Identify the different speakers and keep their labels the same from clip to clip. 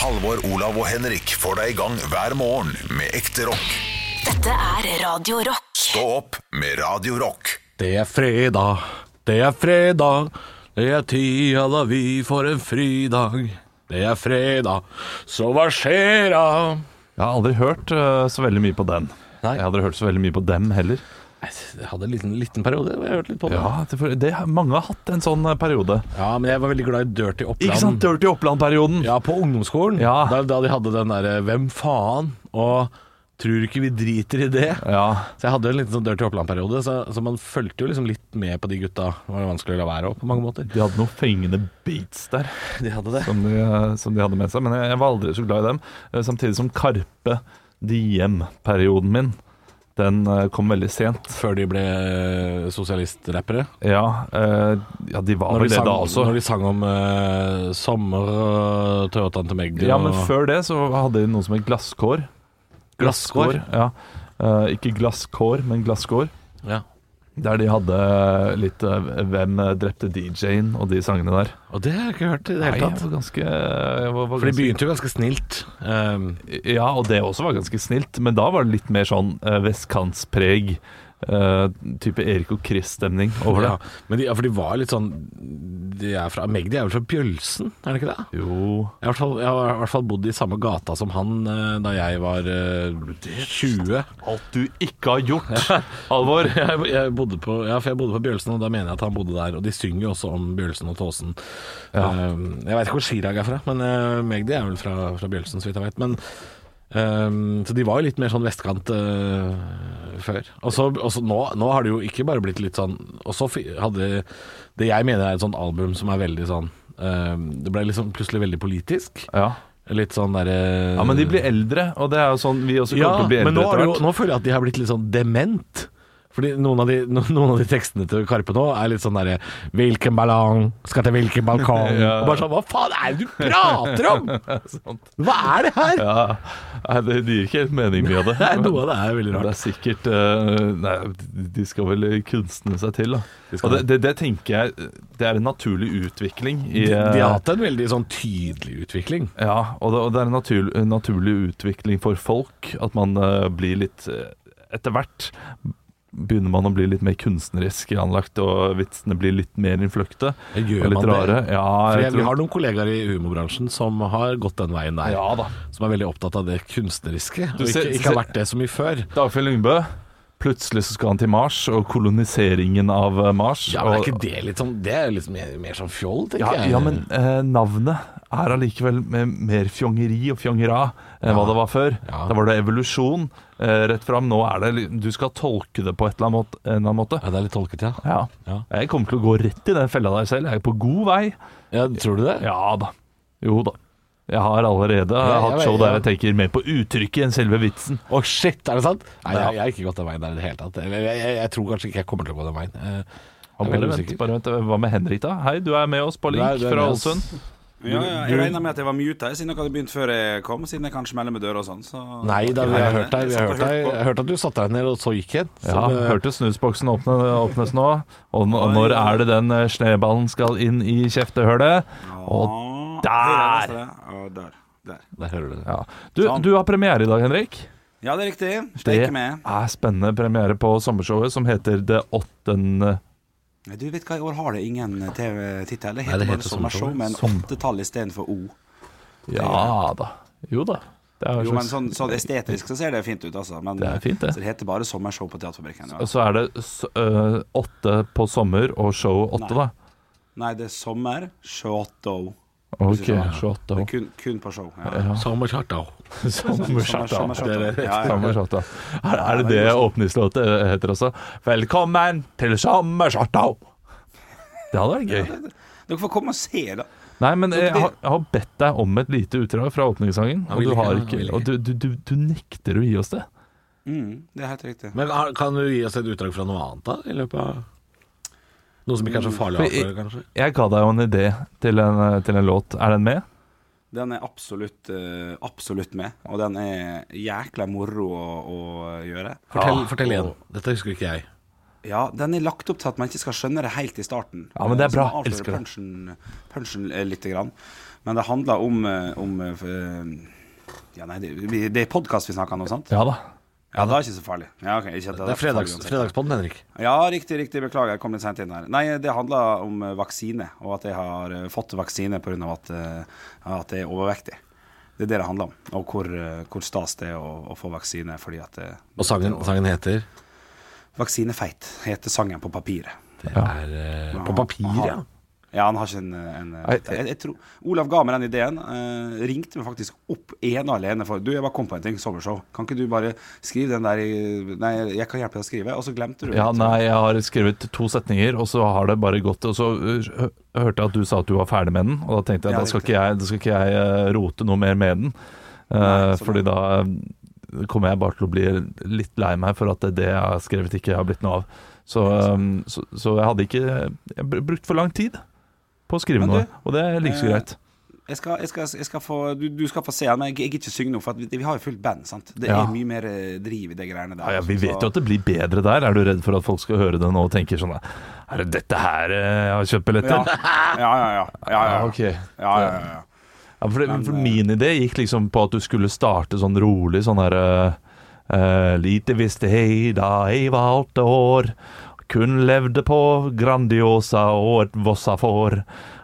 Speaker 1: Halvor, Olav og Henrik får deg i gang hver morgen med ekte rock.
Speaker 2: Dette er Radio Rock.
Speaker 1: Stå opp med Radio Rock.
Speaker 3: Det er fredag, det er fredag, det er tida da vi får en fridag. Det er fredag, så hva skjer da?
Speaker 4: Jeg har aldri hørt øh, så veldig mye på den.
Speaker 3: Nei.
Speaker 4: Jeg har aldri hørt så veldig mye på dem heller.
Speaker 3: Jeg hadde en liten, liten periode hvor jeg hørte litt på det. Ja.
Speaker 4: Ja, det, for- det, Mange har hatt en sånn øh, periode.
Speaker 3: men jeg var veldig glad i Dirty Oppland.
Speaker 4: Ikke sant? Dirty Oppland-perioden.
Speaker 3: Ja, på ungdomsskolen.
Speaker 4: Ja.
Speaker 3: Da, da de hadde den derre 'Hvem faen?' og 'Tror ikke vi driter i det'.
Speaker 4: Ja.
Speaker 3: Så jeg hadde jo en liten sånn Dirty Oppland-periode, så, så man fulgte jo liksom litt med på de gutta. Det var jo vanskelig å la være òg, på mange måter.
Speaker 4: De hadde noen fengende beats der
Speaker 3: De hadde det.
Speaker 4: som de, øh, som de hadde med seg, men jeg, jeg var aldri så glad i dem. Eh, Samtidig som Karpe Diem-perioden min, den øh, kom veldig sent.
Speaker 3: Før de ble eh, sosialistrappere.
Speaker 4: Ja, eh, ja de var
Speaker 3: Når
Speaker 4: vel
Speaker 3: de,
Speaker 4: det
Speaker 3: sang,
Speaker 4: da altså- også.
Speaker 3: når de sang om eh, sommer og Toyotaen til Magdi
Speaker 4: Ja, men
Speaker 3: og-
Speaker 4: før det så hadde de noe som het glasskår.
Speaker 3: Glasskår?
Speaker 4: Ja. Eh, ikke glasskår, men glasskår.
Speaker 3: ja.
Speaker 4: Der de hadde litt eh, 'Hvem drepte DJ-en?' og de sangene der.
Speaker 3: Og det har jeg ikke hørt i det
Speaker 4: Nei,
Speaker 3: hele
Speaker 4: jeg
Speaker 3: tatt.
Speaker 4: var ganske, jeg var, var
Speaker 3: For de
Speaker 4: ganske
Speaker 3: begynte jo ganske snilt. Um,
Speaker 4: Ja, og det også var ganske snilt, men da var det litt mer sånn eh, vestkantspreg. eh, type Erik og Chris-stemning over det.
Speaker 3: ja. Men de, ja, for de var litt sånn de er fra, Magdi er vel fra Bjølsen, er det ikke det?
Speaker 4: Jo
Speaker 3: Jeg har, i hvert fall, jeg har i hvert fall bodd i samme gata som han eh, da jeg var eh, 20.
Speaker 4: Alt du ikke har gjort, Alvor!
Speaker 3: Jeg, jeg, bodde på, ja, for jeg bodde på Bjølsen, og da mener jeg at han bodde der. Og de synger jo også om Bjølsen og Tåsen. Ehm, jeg veit ikke hvor Chirag er fra, men uh, Magdi er vel fra, fra Bjølsen, så vidt jeg veit. Men ehm, Så de var jo litt mer sånn vestkant eh, før. Og så og så nå, nå har det jo ikke bare blitt litt sånn Og så fi- hadde Det jeg mener er et sånt album som er veldig sånn ehm, Det ble liksom plutselig veldig politisk.
Speaker 4: Ja.
Speaker 3: Litt sånn derre
Speaker 4: ja, men de blir eldre, og det er jo sånn vi også kommer
Speaker 3: ja,
Speaker 4: til å bli
Speaker 3: men
Speaker 4: eldre
Speaker 3: nå, er
Speaker 4: etter
Speaker 3: det jo,
Speaker 4: hvert.
Speaker 3: nå føler jeg at de har blitt litt sånn dement. Fordi noen av, de, no- noen av de tekstene til Karpe nå er litt sånn derre 'Hvilken ballong skal til hvilken balkong?'
Speaker 4: Ja.
Speaker 3: Og bare sånn Hva faen er det du prater om?!
Speaker 4: Sant.
Speaker 3: Hva er det her?!
Speaker 4: Ja, Nei, det det gir ikke helt mening, mye av det.
Speaker 3: Nei, noe av det er veldig
Speaker 4: Men Det
Speaker 3: rart.
Speaker 4: er sikkert eh, Nei, de skal vel kunstne seg til, da.
Speaker 3: De skal
Speaker 4: Og det, det, det tenker jeg Det er en naturlig utvikling i
Speaker 3: De, de har
Speaker 4: eh,
Speaker 3: hatt en veldig sånn tydelig utvikling.
Speaker 4: Ja, og det, og det er en natur, en naturlig utvikling for folk at man eh, blir litt eh, Etter hvert begynner man å bli litt mer kunstnerisk anlagt, og vitsene blir litt mer innfløkte.
Speaker 3: Gjør
Speaker 4: og litt
Speaker 3: man det?
Speaker 4: rare. Ja,
Speaker 3: For
Speaker 4: jeg
Speaker 3: jeg, vi
Speaker 4: tror-
Speaker 3: har noen kollegaer i humorbransjen som har gått den veien der.
Speaker 4: ja da.
Speaker 3: Som er veldig opptatt av det kunstneriske, og
Speaker 4: Du ser-
Speaker 3: ikke, ikke har
Speaker 4: ser-
Speaker 3: vært det så mye før.
Speaker 4: Dagfjell Lyngbø. Plutselig så skal han til Mars, og koloniseringen av eh, Mars.
Speaker 3: Ja, men Er
Speaker 4: og-
Speaker 3: ikke det litt sånn Det er jo litt mer, mer sånn fjoll, tenker
Speaker 4: Ja,
Speaker 3: jeg.
Speaker 4: ja men eh, navnet er allikevel me- mer fjongeri og fjongera enn hva det var før.
Speaker 3: Ja.
Speaker 4: Da var det evolusjon eh, rett fram. Nå er det li- Du skal tolke det på et eller annet måte. En eller annen måte.
Speaker 3: ja, det er litt tolket, ja.
Speaker 4: Ja.
Speaker 3: Ja.
Speaker 4: Jeg kommer til å gå rett i den fella der selv. Jeg er på god vei.
Speaker 3: Ja, tror du det?
Speaker 4: Ja da. Jo da. Jeg har allerede
Speaker 3: jeg
Speaker 4: hatt
Speaker 3: vet-
Speaker 4: show der
Speaker 3: ja.
Speaker 4: jeg tenker mer på uttrykket enn selve vitsen.
Speaker 3: Å shit, er det sant? Nei,
Speaker 4: Ja.
Speaker 3: jeg, jeg har ikke gått den veien der i det hele tatt. Jeg, jeg, jeg tror kanskje ikke jeg kommer til å gå den veien. Eh, Jeg er
Speaker 4: Ja, Bare
Speaker 3: veldig
Speaker 4: vent,
Speaker 3: usikker.
Speaker 4: bare vent. Hva med Henrik, da? Hei, du er med oss på
Speaker 3: Nei,
Speaker 4: link
Speaker 3: du er
Speaker 4: fra
Speaker 3: med oss.
Speaker 4: Ålesund.
Speaker 5: Ja, ja, jeg regner med at jeg var muta jeg, siden dere hadde begynt før jeg kom. Siden jeg kan smelle med døra og sånn. Så
Speaker 3: Nei da, vi har hørt deg. Vi
Speaker 5: Jeg
Speaker 3: har hørt
Speaker 5: satt og
Speaker 3: deg.
Speaker 5: hørte på.
Speaker 3: Jeg hørte at du satte deg ned, og så gikk igjen. eh,
Speaker 4: Ja, hørte snusboksen åpne, åpnes nå. Og, n- og
Speaker 5: Oi.
Speaker 4: når er det den eh, sneballen skal inn i kjeftehølet? Og
Speaker 5: Å,
Speaker 4: der!
Speaker 5: det er det neste, det. Å, der. Der.
Speaker 3: Der hører du det.
Speaker 4: ja. du,
Speaker 5: Sånn.
Speaker 4: du har premiere i dag, Henrik.
Speaker 5: Ja, det er riktig.
Speaker 4: Det
Speaker 5: Steike med.
Speaker 4: er spennende premiere på sommershowet som heter Det åttende
Speaker 5: Nei, Du vet hva, i år har det ingen TV-tittel. Det
Speaker 3: Nei,
Speaker 5: heter
Speaker 3: det
Speaker 5: bare
Speaker 3: heter sånn-
Speaker 5: Sommershow
Speaker 3: Sommershow.
Speaker 5: med en
Speaker 4: Som-
Speaker 5: åttetall istedenfor O.
Speaker 4: Ja da. Jo da. Det er,
Speaker 5: Jo, men
Speaker 4: slags,
Speaker 5: sånn, sånn estetisk så ser det fint ut, altså. Men
Speaker 4: Det er fint, det.
Speaker 5: Så det heter bare Sommershow på Teaterfabrikken.
Speaker 3: Altså-
Speaker 4: og så er det s- ø, åtte på sommer og show åtte, da.
Speaker 5: Nei, det er sommer, showtto.
Speaker 4: OK,
Speaker 5: Ja.
Speaker 4: 28 år.
Speaker 5: Kun, kun på show. Ja.
Speaker 3: Sommerkjarta.
Speaker 4: Sommerskjorta.
Speaker 5: Sommershowtto.
Speaker 3: det er det.
Speaker 5: Ja, ja.
Speaker 4: Sommerskjorta. Er, er det det åpningslåtet heter også? Velkommen til sommerskjorta! Det hadde vært gøy.
Speaker 5: Dere får komme og se, da.
Speaker 4: Nei, men eh, jeg
Speaker 5: det-
Speaker 4: har, jeg har bedt deg om et lite utdrag fra åpningssangen, og,
Speaker 3: vil
Speaker 4: du,
Speaker 3: ikke,
Speaker 4: har
Speaker 3: han
Speaker 4: ikke,
Speaker 3: vil ikke.
Speaker 4: og du, du, du, du nekter å gi oss det.
Speaker 5: Mm, det er helt riktig.
Speaker 3: Men har- kan du gi oss et utdrag fra noe annet, da? I løpet av Noe som ikke er så farlig å
Speaker 4: For i-
Speaker 3: avsløre, kanskje?
Speaker 4: Jeg ga deg jo en idé til en, eh, til en låt. Er den med?
Speaker 5: Den er absolutt, eh, absolutt med, og den er jækla moro å, å gjøre.
Speaker 3: Fortell, fortell igjen. Dette husker ikke jeg.
Speaker 5: Ja, den er lagt opp til at man ikke skal skjønne det helt i starten.
Speaker 4: Ja, men det er
Speaker 5: Så man
Speaker 4: bra.
Speaker 5: avslører
Speaker 4: Elsker det.
Speaker 5: punchen- Punchen eh, lite grann. Men det handler om, eh, om eh, Ja, nei, det, vi- det er podkast vi snakker om nå, sant?
Speaker 4: Ja da.
Speaker 5: Ja, det er ikke så farlig. Ja, ok, ikke at
Speaker 3: Det er fredags,
Speaker 5: farlig uansett.
Speaker 3: fredagspodden, Henrik.
Speaker 5: Ja, riktig, riktig. Beklager, jeg kom litt sent inn her. Nei, det handler om eh, vaksine, og at jeg har eh, fått vaksine pga. At, eh, at jeg er overvektig. Det er det det handler om, og hvor, eh, hvor stas det er å, å få vaksine fordi at eh,
Speaker 3: Og sangen, sangen heter
Speaker 5: Vaksinefeit heter sangen på papiret.
Speaker 3: Det er eh, På papir, ja.
Speaker 5: Ja, han har ikke en, eh, en
Speaker 4: Nei,
Speaker 5: jeg, jeg tror, Olav ga meg den ideen. eh, ringte meg faktisk opp ene og alene for Du, jeg bare kom på en ting. Sommershow. Kan ikke du bare skrive den der i Nei, jeg kan hjelpe deg å skrive. Og så glemte du det.
Speaker 4: Ja, nei, jeg har skrevet to setninger, og så har det bare gått Og så uh, hø- hørte jeg at du sa at du var ferdig med den, og da tenkte jeg
Speaker 5: Ja,
Speaker 4: da skal
Speaker 5: riktig.
Speaker 4: ikke jeg, da skal ikke jeg eh, rote noe mer med den. Eh,
Speaker 5: Nei, så
Speaker 4: fordi da eh, kommer jeg bare til å bli litt lei meg for at det, det jeg har skrevet, ikke har blitt noe av. Så, eh, så, så jeg hadde ikke Jeg br- brukt for lang tid på å skrive
Speaker 5: Men
Speaker 4: noe,
Speaker 5: du,
Speaker 4: og det er like så
Speaker 5: eh,
Speaker 4: greit.
Speaker 5: Jeg skal, jeg skal, jeg skal få, du, du skal få se den, men jeg gidder ikke synge noe, for at vi, vi har jo fullt band. sant? Det
Speaker 4: Ja.
Speaker 5: er mye mer eh, driv i de greiene der.
Speaker 4: Ja, ja, vi
Speaker 5: så-
Speaker 4: vet jo at det blir bedre der. Er du redd for at folk skal høre det nå og tenker sånn Er det dette her eh, jeg har kjøpt billett
Speaker 5: ja.
Speaker 4: til?
Speaker 5: Ja, ja, ja. ja, ja,
Speaker 4: Ja,
Speaker 5: ja.
Speaker 4: ok.
Speaker 5: ja, ja, ja, ja.
Speaker 4: Ja, for, det,
Speaker 5: Men,
Speaker 4: for
Speaker 5: eh,
Speaker 4: min idé gikk liksom på at du skulle starte sånn rolig, sånn her eh, eh, Lite visste jeg da jeg var åtte år, kun levde på Grandiosa og et Vossa-får.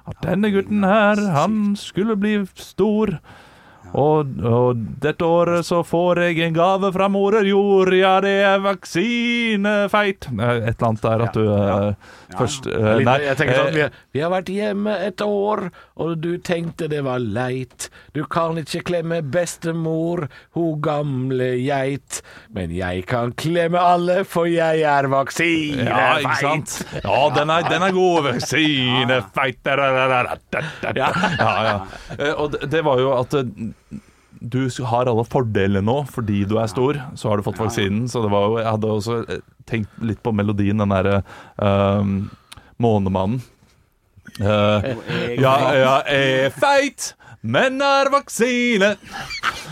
Speaker 4: At denne gutten her, han skulle bli stor. Og, og dette året så får jeg en gave fra morer jord, ja det er vaksinefeit. Eh, Et eller annet der at du eh, først eh,
Speaker 3: Litt-
Speaker 4: Nei,
Speaker 3: jeg tenker
Speaker 4: eh,
Speaker 3: sånn, vi, vi har vært hjemme et år, og du tenkte det var leit. Du kan ikke klemme bestemor, ho gamle geit. Men jeg kan klemme alle, for jeg er vaksinefeit.
Speaker 4: Ja, ikke sant? Ja, den er, den er god. Vaksine, feit da, da, da, da, da, da. Ja, ja. Eh, Og det- det var jo at eh, du har alle fordelene nå fordi du er stor. Så har du fått vaksinen. Så det var jo, jeg hadde også eh, tenkt litt på melodien, den derre ehm, Månemannen. Eh,
Speaker 5: Jeg-
Speaker 4: ja, jeg er feit, men har vaksine.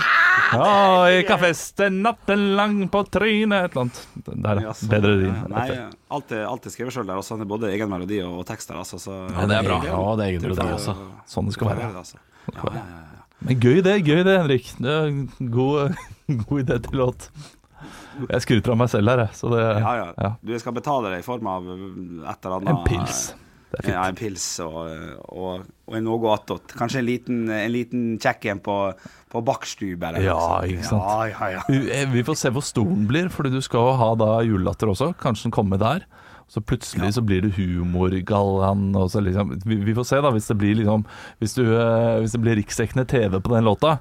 Speaker 4: Ja, jeg kan feste natten lang på trynet. Et eller annet. Der,
Speaker 5: Ja, så-
Speaker 4: bedre rim.
Speaker 5: ja, Nei, alt er, alt er skrevet sjøl der, og sånn er både egen melodi og, og tekst der, altså. Så,
Speaker 3: Ja, det er bra. Ja, det er egen melodi
Speaker 5: altså.
Speaker 3: også.
Speaker 4: Sånn det skal være.
Speaker 5: Det, altså. ja, ja, ja, ja.
Speaker 4: Men gøy det, gøy det, Henrik. Det er en god, god idé til låt. Jeg skryter av meg selv her, jeg. Så det
Speaker 5: Ja, ja.
Speaker 4: ja.
Speaker 5: Du, jeg skal betale deg i form av uh, et eller annet
Speaker 4: En pils. Det er fint.
Speaker 5: Ja, en pils og, og, og en noe attåt. Kanskje en liten, en liten kjekk en på, på bakstube. eller noe
Speaker 4: Ja,
Speaker 5: sånt.
Speaker 4: ikke sant?
Speaker 5: Ja, ja, ja.
Speaker 4: Vi- eh, Vi får se hvor stor den blir, fordi du skal jo ha da julelatter også. Kanskje den kommer der. Så plutselig så blir det humorgallaen. og så Liksom, vi, vi får se, da. Hvis det blir liksom Hvis, du, eh, hvis det blir riksdekkende TV på den låta,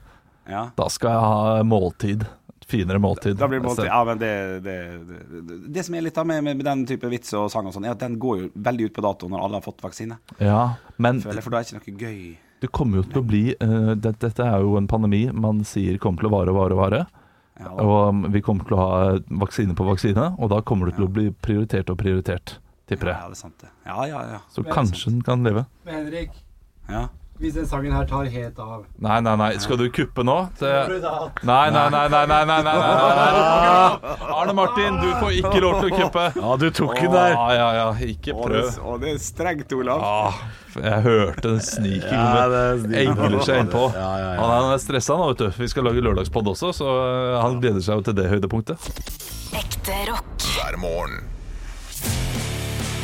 Speaker 5: Ja.
Speaker 4: da skal jeg ha måltid. Finere måltid.
Speaker 5: Da blir det måltid. Ja, men det, det, det, det, det som er litt av med, med den type vits og sang og sånn, er at den går jo veldig ut på dato når alle har fått vaksine.
Speaker 4: Ja, men
Speaker 5: Føler jeg, for da er det ikke noe gøy.
Speaker 4: Det kommer jo til å bli eh, det, Dette er jo en pandemi man sier kommer til å vare, vare, vare.
Speaker 5: Ja, da.
Speaker 4: Og um, vi kommer til å ha vaksine på vaksine, og da kommer det til å bli prioritert og prioritert, tipper
Speaker 5: ja,
Speaker 4: jeg.
Speaker 5: det er sant det. Ja, ja, ja.
Speaker 4: Så kanskje den kan leve.
Speaker 6: Men Henrik,
Speaker 5: ja.
Speaker 6: hvis den sangen her tar helt av
Speaker 4: Nei, nei, nei, skal du kuppe nå? Det...
Speaker 6: Tror du da at-
Speaker 4: Nei, nei, nei, nei, nei, nei, nei, nei, nei. Arne Martin, du får ikke lov til å kuppe.
Speaker 3: Ja, du tok den
Speaker 4: Ja,
Speaker 3: der.
Speaker 4: ja, ja, ikke prøv.
Speaker 5: det er strengt, Olav.
Speaker 4: Ah, jeg hørte den sniken.
Speaker 3: Ja, det er sniken.
Speaker 4: Engler seg innpå.
Speaker 3: Ja, ja, ja.
Speaker 4: Han er- Han er stressa nå, vet du. Vi skal lage lørdagspod også, så eh, han gleder seg jo til det høydepunktet.
Speaker 2: Ekte rock.
Speaker 1: hver morgen.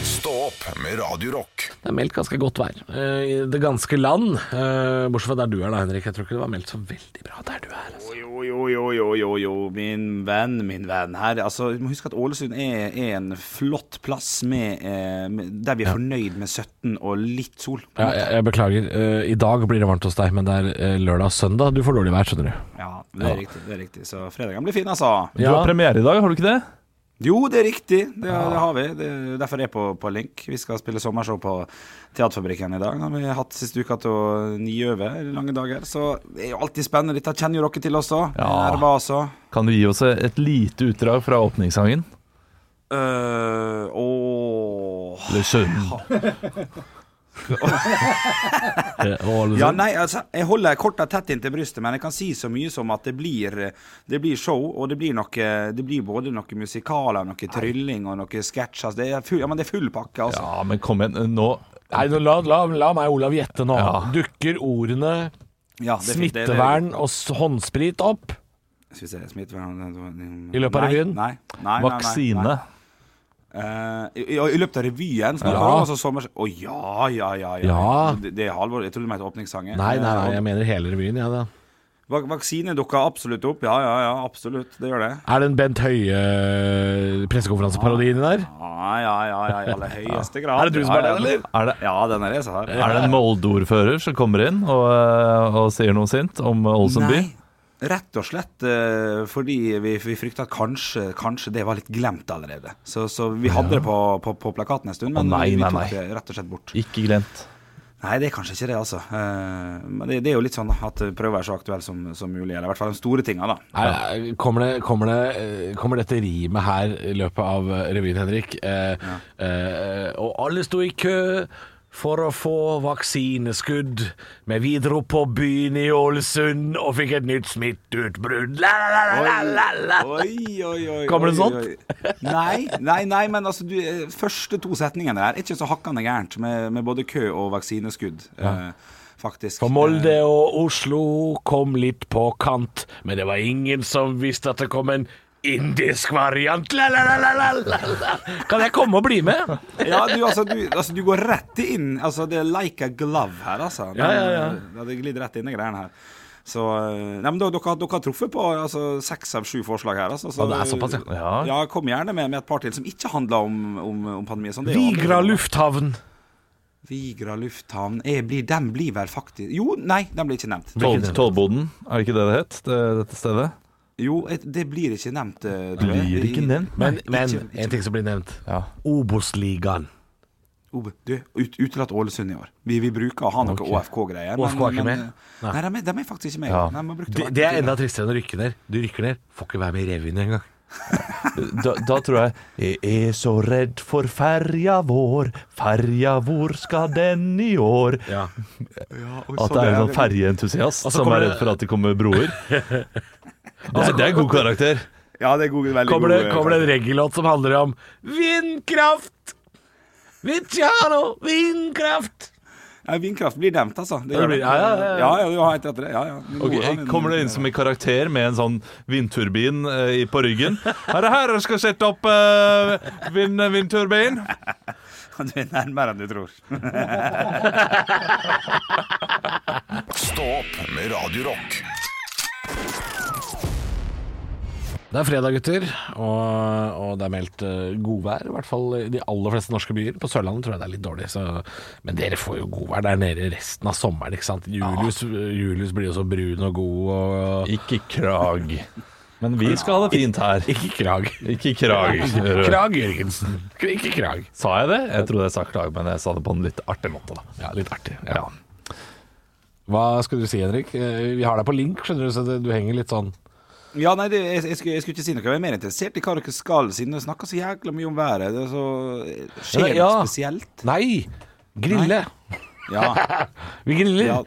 Speaker 1: Stå opp med Radio Rock.
Speaker 3: Det er meldt ganske godt vær eh, i det ganske land. eh, bortsett fra der du er da, Henrik. Jeg tror ikke det var meldt så veldig bra der du er. Altså.
Speaker 5: Jo, jo, jo, jo, jo, jo, min venn, min venn her. Altså, du må huske at Ålesund er, er en flott plass med, eh, med, der vi er fornøyd med 17 og litt sol.
Speaker 3: Ja, jeg, jeg beklager. eh, I dag blir det varmt hos deg, men det er eh, lørdag og søndag du får dårlig vær, skjønner du.
Speaker 5: Ja, det er riktig. det er riktig. Så fredagen blir fin, altså.
Speaker 4: Du har premiere i dag, har du ikke det?
Speaker 5: Jo, det er riktig. Det, det har vi. Det, derfor er jeg på, på link. Vi skal spille sommershow på Teaterfabrikken i dag. Det har vi hatt siste uka til å niøve lange dager. Så det er jo alltid spennende. Dette kjenner jo dere til også.
Speaker 4: Ja.
Speaker 5: Nerver, altså.
Speaker 4: Kan du gi oss et lite utdrag fra åpningssangen?
Speaker 5: Øh,
Speaker 3: Eh,
Speaker 5: åh.
Speaker 3: og liksom-
Speaker 5: Ja, nei, altså, jeg holder korta tett inntil brystet, men jeg kan si så mye som at det blir, det blir show, og det blir, noe, det blir både noe musikaler, noe trylling og noe sketsj. Altså, det, er full- ja, men det er full pakke, altså.
Speaker 4: Ja, men kom igjen. Nå
Speaker 3: Nei, nå la, la, la meg, Olav, gjette nå.
Speaker 4: Ja.
Speaker 3: Dukker ordene
Speaker 5: Ja, det er fint. Det- det-
Speaker 3: smittevern og s- håndsprit opp?
Speaker 5: Skal vi se, smittevern
Speaker 3: I løpet av
Speaker 5: Nei,
Speaker 3: revyen?
Speaker 5: Nei, nei, nei, nei, nei.
Speaker 4: Vaksine.
Speaker 5: Eh, i, I i løpet av revyen? Snakker
Speaker 3: Ja.
Speaker 5: han om altså sommer... Å ja, ja, ja. ja.
Speaker 3: Ja.
Speaker 5: Det, det er halvor. Jeg trodde det het åpningssangen.
Speaker 3: Nei, nei, nei,
Speaker 5: Eh,
Speaker 3: jeg mener hele revyen. Ja, da.
Speaker 5: vak vaksine dukker absolutt opp. Ja, ja, ja, absolutt. Det gjør det.
Speaker 3: Er det en Bent Høie-pressekonferanseparodi inni der?
Speaker 5: Ja, ja, ja, ja i aller høyeste grad.
Speaker 3: Er det du som er
Speaker 5: ja,
Speaker 3: den, eller?
Speaker 4: Er det,
Speaker 5: Ja, den er det som har.
Speaker 4: er det en Molde-ordfører som kommer inn og, eh, og sier noe sint om Ålesund by?
Speaker 5: Rett og slett eh, fordi vi, vi frykta at kanskje, kanskje det var litt glemt allerede. Så, så vi hadde det på, på, på plakaten en stund, men
Speaker 4: nei,
Speaker 5: vi
Speaker 4: nei,
Speaker 5: tok
Speaker 4: nei.
Speaker 5: det rett og slett bort.
Speaker 4: Ikke glemt.
Speaker 5: Nei, det er kanskje ikke det, altså. Eh, Men det, det er jo litt sånn at prøv å være så aktuell som, som mulig, eller i hvert fall de store tinga, da.
Speaker 3: Er, er- kommer, det, kommer, det, eh, kommer dette rimet her i løpet av eh, revyen, Henrik? Eh, eh, og alle sto i kø for å få vaksineskudd, men vi dro på byen i Ålesund og fikk et nytt smitteutbrudd. La, la, la, la, la, la.
Speaker 5: Oi, oi, oi.
Speaker 3: Kommer det
Speaker 5: oi,
Speaker 3: sånt?
Speaker 5: oi. Nei, nei, nei, men altså, du, eh, første to setningene der er ikke så hakkande gærent med, med både kø og vaksineskudd, eh, faktisk.
Speaker 3: For Molde og Oslo kom litt på kant, men det var ingen som visste at det kom en indisk variant. La, la, la, la, la, la, la. Kan jeg komme og bli med?
Speaker 5: Eh, Ja, du, altså, du, altså, du går rett inn. Altså, det er like a glove her, altså.
Speaker 3: Ja, ja, ja.
Speaker 5: Men, eh, Det glir rett inn i greiene her. Så eh, Nei, men dere, dere, har- dere har truffet på altså, seks av sju forslag her, altså. Så,
Speaker 3: Ja, det er såpass,
Speaker 4: ja.
Speaker 5: ja. Kom gjerne med, med et par til som ikke handler om, om, om pandemi. Sånn, det er jo-
Speaker 3: Vigra lufthavn.
Speaker 5: Vigra lufthavn jeg blir, Den blir vel faktisk Jo, nei, den blir ikke nevnt.
Speaker 4: Toll, tollboden, er det ikke det det het? Det, dette stedet?
Speaker 5: Jo, et- det blir ikke nevnt. eh, tror jeg.
Speaker 4: Blir ikke nevnt.
Speaker 3: Men,
Speaker 5: Nei,
Speaker 3: men
Speaker 5: ikke- ikke-
Speaker 3: en ting som blir nevnt.
Speaker 4: Ja.
Speaker 3: Obos-ligaen.
Speaker 5: Obe, Du, ut, utelatt Ålesund i år. Vi, vi bruker å ha noe OFK-greier. men-
Speaker 3: OFK er ikke
Speaker 5: men- eh,
Speaker 3: med?
Speaker 5: Nei, de, er, de er faktisk ikke med.
Speaker 4: Ja.
Speaker 5: Nei, man brukte
Speaker 3: Det,
Speaker 5: bare-
Speaker 3: det er enda tristere enn å rykke ned. Du rykker ned, får ikke være med i revyen engang.
Speaker 4: Da, da tror jeg Jeg er så redd for ferja vår, ferja hvor skal den i år?
Speaker 3: Ja.
Speaker 5: Ja, og
Speaker 4: At
Speaker 5: så
Speaker 4: det er en
Speaker 5: det-
Speaker 4: sånn ferjeentusiast
Speaker 3: Og så
Speaker 4: som
Speaker 3: kommer
Speaker 4: er
Speaker 3: det-
Speaker 4: redd for at det kommer broer. Det er, det er god karakter.
Speaker 5: Ja, det er god, veldig
Speaker 3: Kommer det,
Speaker 5: god, eh,
Speaker 3: kommer det en reggaelåt som handler om vindkraft? Vitiano, vindkraft!
Speaker 5: Ja, Vindkraft blir nevnt, altså. Det
Speaker 3: det
Speaker 5: gjør
Speaker 3: blir-
Speaker 5: det.
Speaker 3: ja, ja, ja, ja.
Speaker 5: ja, ja, du har helt rett i det. Ja, ja. Men
Speaker 4: Ok,
Speaker 5: nå har vi en-
Speaker 4: kommer det inn som en karakter med en sånn vindturbin eh, i- på ryggen? Er det her jeg skal sette opp eh, vind, vindturbin?
Speaker 5: Du er nærmere enn du tror.
Speaker 1: Stå opp med Radio Rock.
Speaker 3: Det er fredag, gutter, og, og det er meldt eh, godvær. I hvert fall i de aller fleste norske byer. På Sørlandet tror jeg det er litt dårlig, så, men dere får jo godvær der nede resten av sommeren. ikke sant? Julius, Julius blir jo så brun og god og
Speaker 4: Ikke krag. Men vi skal ha det fint her.
Speaker 3: Ikke krag.
Speaker 4: Ikke krag.
Speaker 3: Krag Jørgensen. Ikke krag.
Speaker 4: Sa jeg det? Jeg trodde jeg sa krag, men jeg sa det på en litt artig måte. da
Speaker 3: Ja, litt artig. Ja. Hva skulle du si, Henrik? Eh, Vi har deg på link, skjønner du, så det- du henger litt sånn
Speaker 5: Ja, nei, det, jeg, jeg, skulle, jeg skulle ikke si noe. Jeg er mer interessert i hva dere skal, siden dere snakker så jækla mye om været. Det er så, skjer det
Speaker 3: Ja.
Speaker 5: noe spesielt?
Speaker 3: Nei! Grille!
Speaker 5: Ja.
Speaker 3: Vi griller!
Speaker 5: Ja.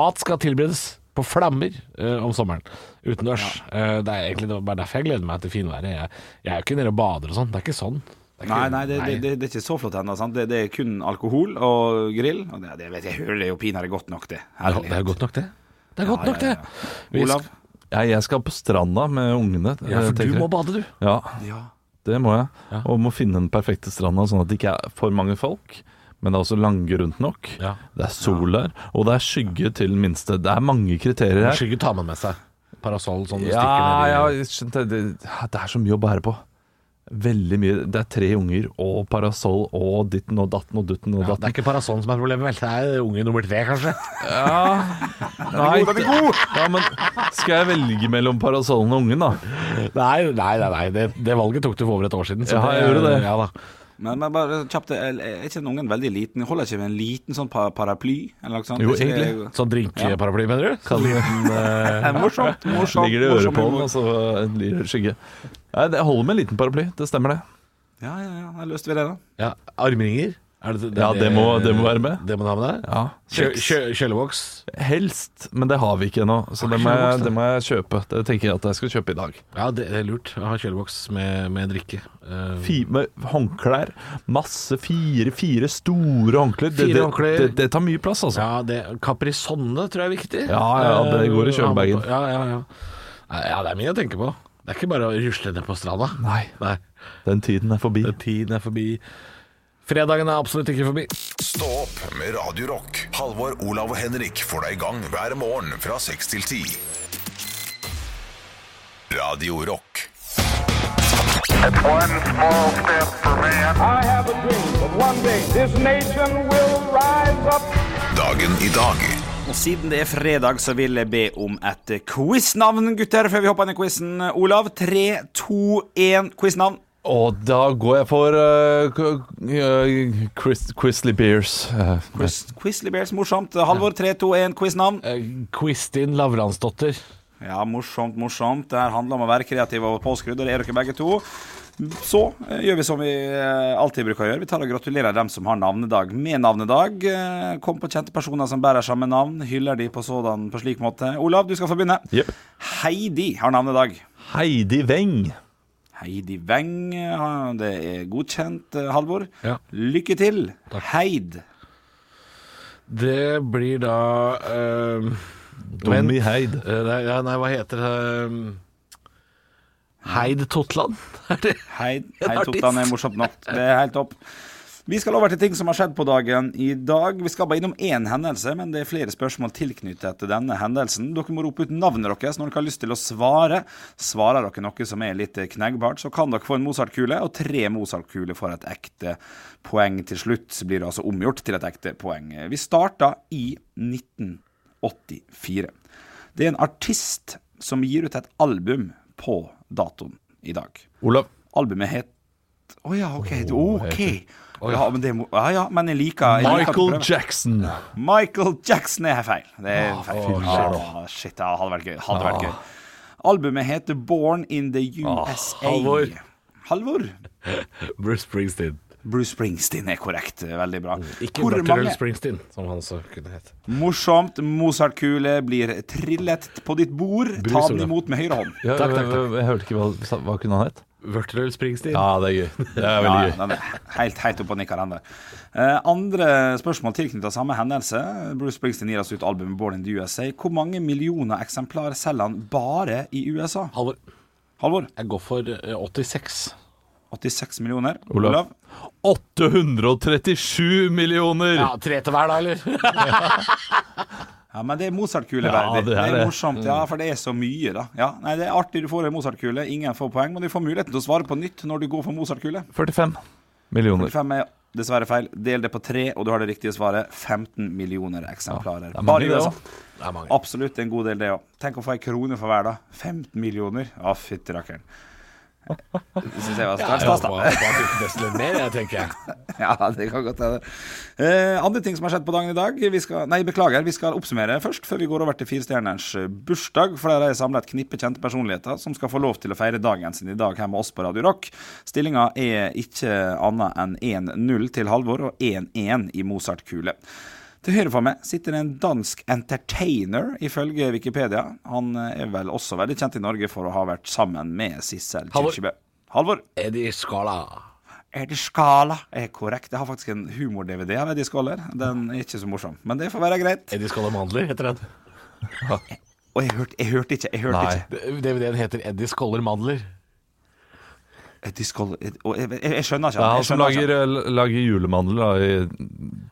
Speaker 3: Mat skal tilberedes på flammer eh, om sommeren, utendørs. Eh, det er egentlig det var bare derfor jeg gleder meg til finværet. Jeg, jeg er jo ikke nede og bader og sånn. Det er ikke sånn. Det er ikke,
Speaker 5: Nei, nei, det, det, det, det er ikke så flott ennå. sant? Det, det er kun alkohol og grill. Og det, det vet jeg, jeg hører det jo pinadø godt nok, det.
Speaker 3: Det er- det er godt nok, det. Det er godt
Speaker 5: ja,
Speaker 3: nok, det.
Speaker 5: ja.
Speaker 3: Vi sk-
Speaker 5: Olav?
Speaker 4: Jeg, jeg skal på stranda med ungene.
Speaker 3: Ja, for
Speaker 4: eh,
Speaker 3: du
Speaker 4: tenker
Speaker 3: må
Speaker 4: jeg.
Speaker 3: bade, du.
Speaker 4: Ja,
Speaker 5: Ja.
Speaker 4: det må jeg. Og må finne den perfekte stranda, sånn at det ikke er for mange folk. Men det er også langgrunt nok.
Speaker 3: Ja.
Speaker 4: Det er sol der, og det er skygge til den minste. Det er mange kriterier her.
Speaker 3: Skygge tar man med seg. Parasoll sånn du
Speaker 4: Ja, ja,
Speaker 3: stikker ned i
Speaker 4: jeg skjønte det, det er så mye å bære på. Veldig mye. Det er tre unger og parasoll og ditten og datten og dutten og
Speaker 3: ja, Det er
Speaker 4: datten.
Speaker 3: ikke parasollen som er problemet, vel. Det er unge nummer tre, kanskje.
Speaker 4: Nei, ja, men skal jeg velge mellom parasollen og ungen, da?
Speaker 3: Nei, nei, nei, nei. Det, det valget tok du for over et år siden. så
Speaker 4: Ja, jeg gjorde det.
Speaker 3: Ja, da.
Speaker 5: Men, men bare kjapt, er er ikke den ungen veldig liten? Holder ikke med en liten sånn pa paraply? Eller noe sånt?
Speaker 4: Jo,
Speaker 5: Er ikke det-
Speaker 4: egentlig.
Speaker 3: Sånn drinkeparaply, mener du?
Speaker 4: Kan,
Speaker 5: Det er morsomt, morsomt.
Speaker 4: Ligger det i øret
Speaker 5: morsomt
Speaker 4: på altså? den,
Speaker 5: humor.
Speaker 4: og så blir det skygge. Nei, det holder med en liten paraply. Det stemmer, det.
Speaker 5: Ja, ja, ja. Da løste vi det, da.
Speaker 3: Ja, Armringer? Er det,
Speaker 4: Ja, det må- det må være med.
Speaker 3: Det må du ha med deg?
Speaker 4: Ja,
Speaker 3: Kjø-
Speaker 4: kjeks.
Speaker 3: kjø- Kjølevoks?
Speaker 4: Helst, men det har vi ikke ennå, så
Speaker 3: Har
Speaker 4: det
Speaker 3: ikke
Speaker 4: må,
Speaker 3: kjøleboks,
Speaker 4: jeg,
Speaker 3: da.
Speaker 4: det må jeg kjøpe. Det tenker jeg at jeg skal kjøpe i dag.
Speaker 3: Ja, det er lurt. Jeg har kjølevoks med, med drikke. Eh,
Speaker 4: Fi, med håndklær. Masse fire, fire store håndklær. Det,
Speaker 3: Fire
Speaker 4: det,
Speaker 3: håndklær.
Speaker 4: det, det tar mye plass, altså.
Speaker 3: Ja, det, Caprisonne tror jeg er viktig.
Speaker 4: Ja, ja, det går i
Speaker 3: Eh,
Speaker 4: kjølebagen.
Speaker 3: Ja, ja, ja. Nei, ja, det er mye å tenke på. Det er ikke bare å rusle ned på stranda.
Speaker 4: Nei,
Speaker 3: Nei.
Speaker 4: den tiden er forbi.
Speaker 3: Tiden er forbi. Fredagen er absolutt ikke forbi.
Speaker 1: Stå opp med Radio Rock. Halvor, Olav og Henrik får deg i gang hver morgen fra 6 til 10. Radio Rock.
Speaker 7: One small step for man.
Speaker 8: I have a dream that one day this nation will rise up.
Speaker 1: Dagen i dag.
Speaker 5: Og siden det er fredag, så vil jeg be om et quiznavn, gutter, før vi hopper inn i quizen. Olav, 3, 2, 1, quiznavn.
Speaker 4: Og da går jeg for eh, k- eh, Chris, Chrisley Beers. Eh,
Speaker 5: Quiz, Quizly Bears, morsomt. Halvor, 3, 2, 1, quiznavn.
Speaker 3: Eh. Kristin Lavransdotter.
Speaker 5: Ja, morsomt, morsomt. Det her handler om å være kreativ og påskrudd, og det er dere begge to. Så eh, gjør vi som vi eh, alltid bruker å gjøre. Vi tar og gratulerer dem som har navnedag med navnedag. Eh, Kom på kjente personer som bærer samme navn. Hyller de på sådan på slik måte. Olav, du skal få begynne.
Speaker 4: Jepp.
Speaker 5: Heidi har navnedag.
Speaker 4: Heidi Weng.
Speaker 5: Heidi Weng, eh, det er godkjent, eh, Halvor.
Speaker 3: Ja.
Speaker 5: Lykke til. Heid.
Speaker 3: Det blir da eh,
Speaker 4: Tommy
Speaker 3: Vent.
Speaker 4: Heid.
Speaker 3: eh, nei, ja, nei, hva heter det eh, Heid Totland? Er det
Speaker 5: Hei,
Speaker 3: En
Speaker 5: hei
Speaker 3: artist.
Speaker 5: Tottan er morsomt nok. Det er helt topp. Vi skal over til ting som har skjedd på dagen i dag. Vi skal bare innom én hendelse, men det er flere spørsmål tilknyttet til denne hendelsen. Dere må rope ut navnet deres når dere har lyst til å svare. Svarer dere noe som er litt kneggbart, så kan dere få en Mozart-kule, og tre Mozart-kuler for et ekte poeng til slutt. Så blir det altså omgjort til et ekte poeng. Vi starta i 1984. Det er en artist som gir ut et album på datoen i dag.
Speaker 4: Olav.
Speaker 5: Albumet het Å ja, OK. det- ok. Ja, men det må Ja, ja, men jeg liker jeg liker at du
Speaker 4: Michael
Speaker 5: prøver.
Speaker 4: Jackson.
Speaker 5: Michael Jackson er feil. Det er feil. Åh, shit, det hadde vært gøy. Hadde vært gøy. Albumet heter Born in the USA.
Speaker 3: Halvor.
Speaker 5: Halvor.
Speaker 3: Bruce Springsteen?
Speaker 5: Bruce Springsteen er korrekt. Veldig bra.
Speaker 3: Ikke
Speaker 5: Hvor
Speaker 3: Dr. Earl
Speaker 5: mange
Speaker 3: Springsteen, som han så kunne hete.
Speaker 5: morsomt Mozart-kuler blir trillet på ditt bord? Ta den
Speaker 3: Olav.
Speaker 5: imot med høyre hånd.
Speaker 4: Ja,
Speaker 3: Takk, takk,
Speaker 4: Jeg, jeg hørte ikke hva, hva kunne han hett.
Speaker 3: Vertrell Springsteen?
Speaker 4: Ja, det er gøy. Det er
Speaker 5: Ja,
Speaker 4: veldig
Speaker 5: ja,
Speaker 4: gøy.
Speaker 5: den er helt, helt opp og nikker den der. Eh, andre spørsmål tilknyttet samme hendelse. Bruce Springsteen gir oss ut albumet 'Born in the USA'. Hvor mange millioner eksemplar selger han bare i USA?
Speaker 3: Halvor,
Speaker 5: Halvor?
Speaker 3: jeg går for eh, 86.
Speaker 5: 86 millioner.
Speaker 4: Olav. 837 millioner!
Speaker 3: Ja, Tre til hver, da, eller?
Speaker 5: Ja, men det er Mozart-kule.
Speaker 4: Ja,
Speaker 5: verdig.
Speaker 4: det er
Speaker 5: det, er
Speaker 4: det.
Speaker 5: morsomt, ja, for det er så mye, da. Ja, nei, Det er artig du får en Mozart-kule. Ingen får poeng, men du får muligheten til å svare på nytt når du går for Mozart-kule.
Speaker 4: 45 millioner.
Speaker 5: 45 er dessverre feil. Del det på tre, og du har det riktige svaret. 15 millioner eksemplarer.
Speaker 4: det er mange
Speaker 5: bare i
Speaker 4: det
Speaker 5: USA.
Speaker 4: også.
Speaker 3: Det er mange.
Speaker 5: Absolutt en god del, det òg. Tenk å få ei krone for hver, da. 15 millioner. Å, fytti rakkeren. Det syns jeg var svært stas, da.
Speaker 3: mer, jeg, tenker jeg.
Speaker 5: Ja, det kan godt hende. Eh, andre ting som har skjedd på dagen i dag vi skal, Nei, beklager, vi skal oppsummere først, før vi går over til firestjerners eh, bursdag. For der har jeg samla et knippe kjente personligheter som skal få lov til å feire dagen sin i dag her med oss på Radio Rock. Stillinga er ikke annet enn 1-0 til Halvor og 1-1 i Mozart-kule. Til høyre for meg sitter en dansk entertainer, ifølge Wikipedia. Han eh, er vel også veldig kjent i Norge for å ha vært sammen med Sissel
Speaker 3: Halvor.
Speaker 5: Kirkebø. Halvor.
Speaker 3: Eddie Skala.
Speaker 5: Eddie Skala er korrekt. Jeg har faktisk en humor-DVD av Eddie Skaller. Den er ikke så morsom, men det får være greit.
Speaker 3: Eddie Skala Mandler heter den.
Speaker 5: Og jeg hørte, jeg hørte ikke. jeg hørte
Speaker 4: Nei.
Speaker 5: ikke
Speaker 3: DVD-en heter Eddie Skoller Mandler.
Speaker 5: Eddie Skaller og jeg, jeg, jeg skjønner ikke.
Speaker 4: Det er han
Speaker 5: jeg
Speaker 4: som
Speaker 5: skjønner ikke.
Speaker 4: lager, eh, lager julemandel da, i,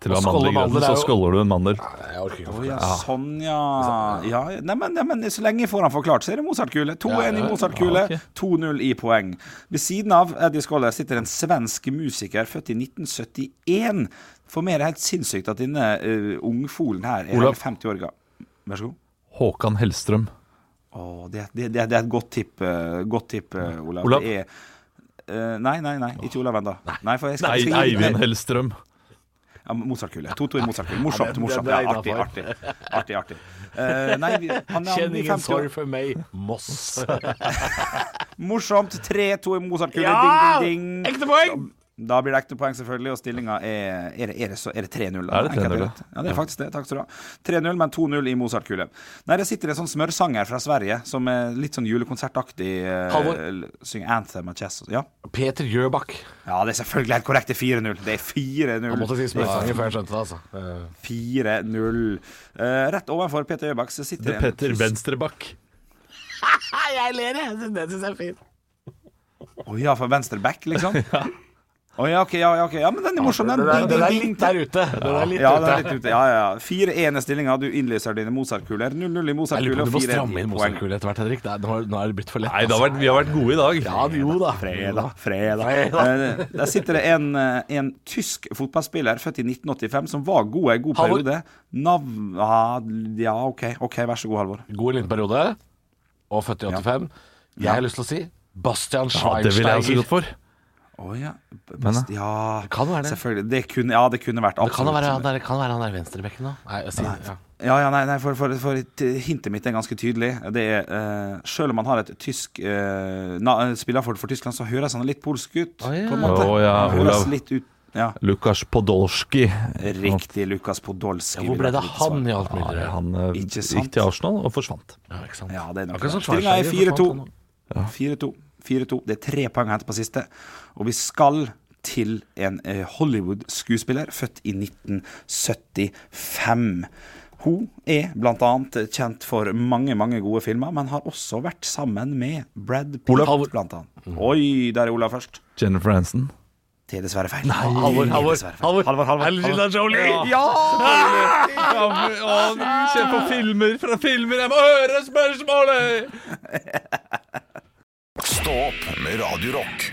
Speaker 4: til å
Speaker 3: Og
Speaker 4: ha mandel
Speaker 3: skåler mandel er
Speaker 4: i grøten. Så
Speaker 3: jo-
Speaker 4: skåler du en mandel.
Speaker 3: Nei, jeg orker ikke å
Speaker 5: Å ja, sånn, ja. ja ja. nei, men, nei, men så lenge jeg får han forklart, så er det Mozart-kule. 2-1 i Mozart-kule,
Speaker 4: Ja, ok.
Speaker 5: 2-0 i poeng. Ved siden av Eddie Skoller sitter en svensk musiker født i 1971. For meg er det helt sinnssykt at denne eh, ungfolen her er
Speaker 4: Olav.
Speaker 5: hele 50 år gammel. Vær så god.
Speaker 4: Håkan Hellstrøm.
Speaker 5: Åh, det, det, det, det er et godt tipp, eh, godt tipp eh, Olav.
Speaker 4: Olav?
Speaker 5: Det er, eh, nei, nei, nei, ikke Olav ennå. Nei, for jeg skal,
Speaker 4: Nei,
Speaker 5: jeg skal gi-
Speaker 4: Eivind Hellstrøm.
Speaker 5: Ja, Mozartkule. To-to i Mozartkule. Morsomt,
Speaker 3: det-
Speaker 5: morsomt.
Speaker 3: det er
Speaker 5: Ja, artig,
Speaker 3: innenfor.
Speaker 5: artig. artig, artig. Eh, nei, vi, han, han
Speaker 3: Kjenn
Speaker 5: blir
Speaker 3: ingen
Speaker 5: 50
Speaker 3: sorg
Speaker 5: år.
Speaker 3: for meg, Moss.
Speaker 5: Morsomt. 3-2 i Mozartkule.
Speaker 3: Ja!
Speaker 5: Ding, ding, ding.
Speaker 3: Ekte poeng!
Speaker 5: Da blir det ekte poeng, selvfølgelig, og stillinga er Er det, er det, så- er det 3-0? da?
Speaker 4: Er det 3-0,
Speaker 5: Enkelt og greit. Ja, det er faktisk det. Takk skal du ha. 3-0, men 2-0 i Mozart-kule. Nei, det sitter en sånn smørsanger fra Sverige som er litt sånn julekonsertaktig. eh,
Speaker 3: Halvor?
Speaker 5: l- Synger Anthem og Chess. og- Ja.
Speaker 3: Peter Jøbakk.
Speaker 5: ja, det er selvfølgelig helt korrekt. Det er 4-0. Det er 4-0.
Speaker 3: Jeg måtte si
Speaker 5: Det er
Speaker 3: smørsanger før jeg skjønte det, altså. Eh,
Speaker 5: 4-0. Eh, rett overfor Peter Øybakk så sitter en
Speaker 4: Petter
Speaker 5: tysk-
Speaker 4: Venstrebakk.
Speaker 5: Å ja, for venstre back, liksom? Å ja, ok, ja, ja, ok. ja, men den er morsom, den.
Speaker 3: Det der, det der er
Speaker 5: Ding, ding,
Speaker 3: litt der ute. Det der er litt
Speaker 5: Ja, den
Speaker 3: ute.
Speaker 5: er litt ute. Ja, ja, ja. Fire ene stillinger. Du innlyser dine Mozart-kuler. 0-0 i
Speaker 3: Jeg lurer
Speaker 5: Mozart-kule
Speaker 3: på om
Speaker 5: og
Speaker 3: du må
Speaker 5: 4
Speaker 3: stramme inn
Speaker 5: poeng.
Speaker 3: Mozart-kule etter hvert, Henrik. Det er, nå har- nå er det blitt for lett. altså.
Speaker 4: Nei, det har vært, vi har vært gode i dag.
Speaker 3: Ja, jo da.
Speaker 5: Fredag, fredag. Eh, Der sitter det en, eh, en tysk fotballspiller født i 1985 som var god en god
Speaker 3: Halvor.
Speaker 5: periode. Navn ah, Ja, OK, ok, vær så god, Halvor.
Speaker 3: God liten periode, og født i 85. Jeg har lyst til å si Bastian
Speaker 4: Ja, det ville jeg også
Speaker 3: Schweinsteiger.
Speaker 4: gått for.
Speaker 5: Å ja.
Speaker 4: Men, da?
Speaker 5: ja
Speaker 3: kan være eh, det.
Speaker 5: Selvfølgelig. Det kunne, ja, det kunne vært
Speaker 3: Det kan
Speaker 5: absolutt.
Speaker 3: være han der, kan være han der venstrebekken nå. Nei, jeg sier, ja.
Speaker 5: Ja, ja, nei, nei for, for, for t- hintet mitt er ganske tydelig. Det er, eh, selv om han har et tysk eh, na, eh, spiller for, for Tyskland, så høres han litt polsk ut.
Speaker 3: Å, ja.
Speaker 5: På en måte.
Speaker 4: Å, ja,
Speaker 5: han høres
Speaker 4: Olav.
Speaker 5: litt ut ja.
Speaker 4: Lukas Podolski.
Speaker 5: Riktig Lukas Podolski.
Speaker 3: Ja, hvor
Speaker 5: vil
Speaker 3: ble
Speaker 5: jeg
Speaker 3: det
Speaker 5: tro
Speaker 3: han i alt
Speaker 4: Ja,
Speaker 3: mylderet?
Speaker 4: han eh,
Speaker 5: Ikke sant?
Speaker 4: gikk til Arsenal og forsvant.
Speaker 3: Ja, ikke sant.
Speaker 5: Ja, det er nok
Speaker 3: Akkurat som
Speaker 5: det. Stillinga er
Speaker 3: Schweinsteiger forsvant
Speaker 5: 4-2. 4-2. 4-2. Det er tre poeng å hente på siste. Og vi skal til en eh, Hollywood-skuespiller født i 1975. Hun er bl.a. kjent for mange mange gode filmer, men har også vært sammen med Brad Pitt.
Speaker 3: Olav.
Speaker 5: Blant annet. Oi, der er Olav først.
Speaker 4: Jennifer Aniston.
Speaker 5: Det er dessverre feil.
Speaker 3: Halvor,
Speaker 5: Det er
Speaker 3: Halvor,
Speaker 5: dessverre feil.
Speaker 3: Halvor.
Speaker 5: Halvor, Halvor.
Speaker 3: Angelina Jolie! Ja!
Speaker 4: Ja, men- å, Se på filmer fra filmer! Jeg må høre spørsmålet!
Speaker 1: Stå opp med Radio Rock.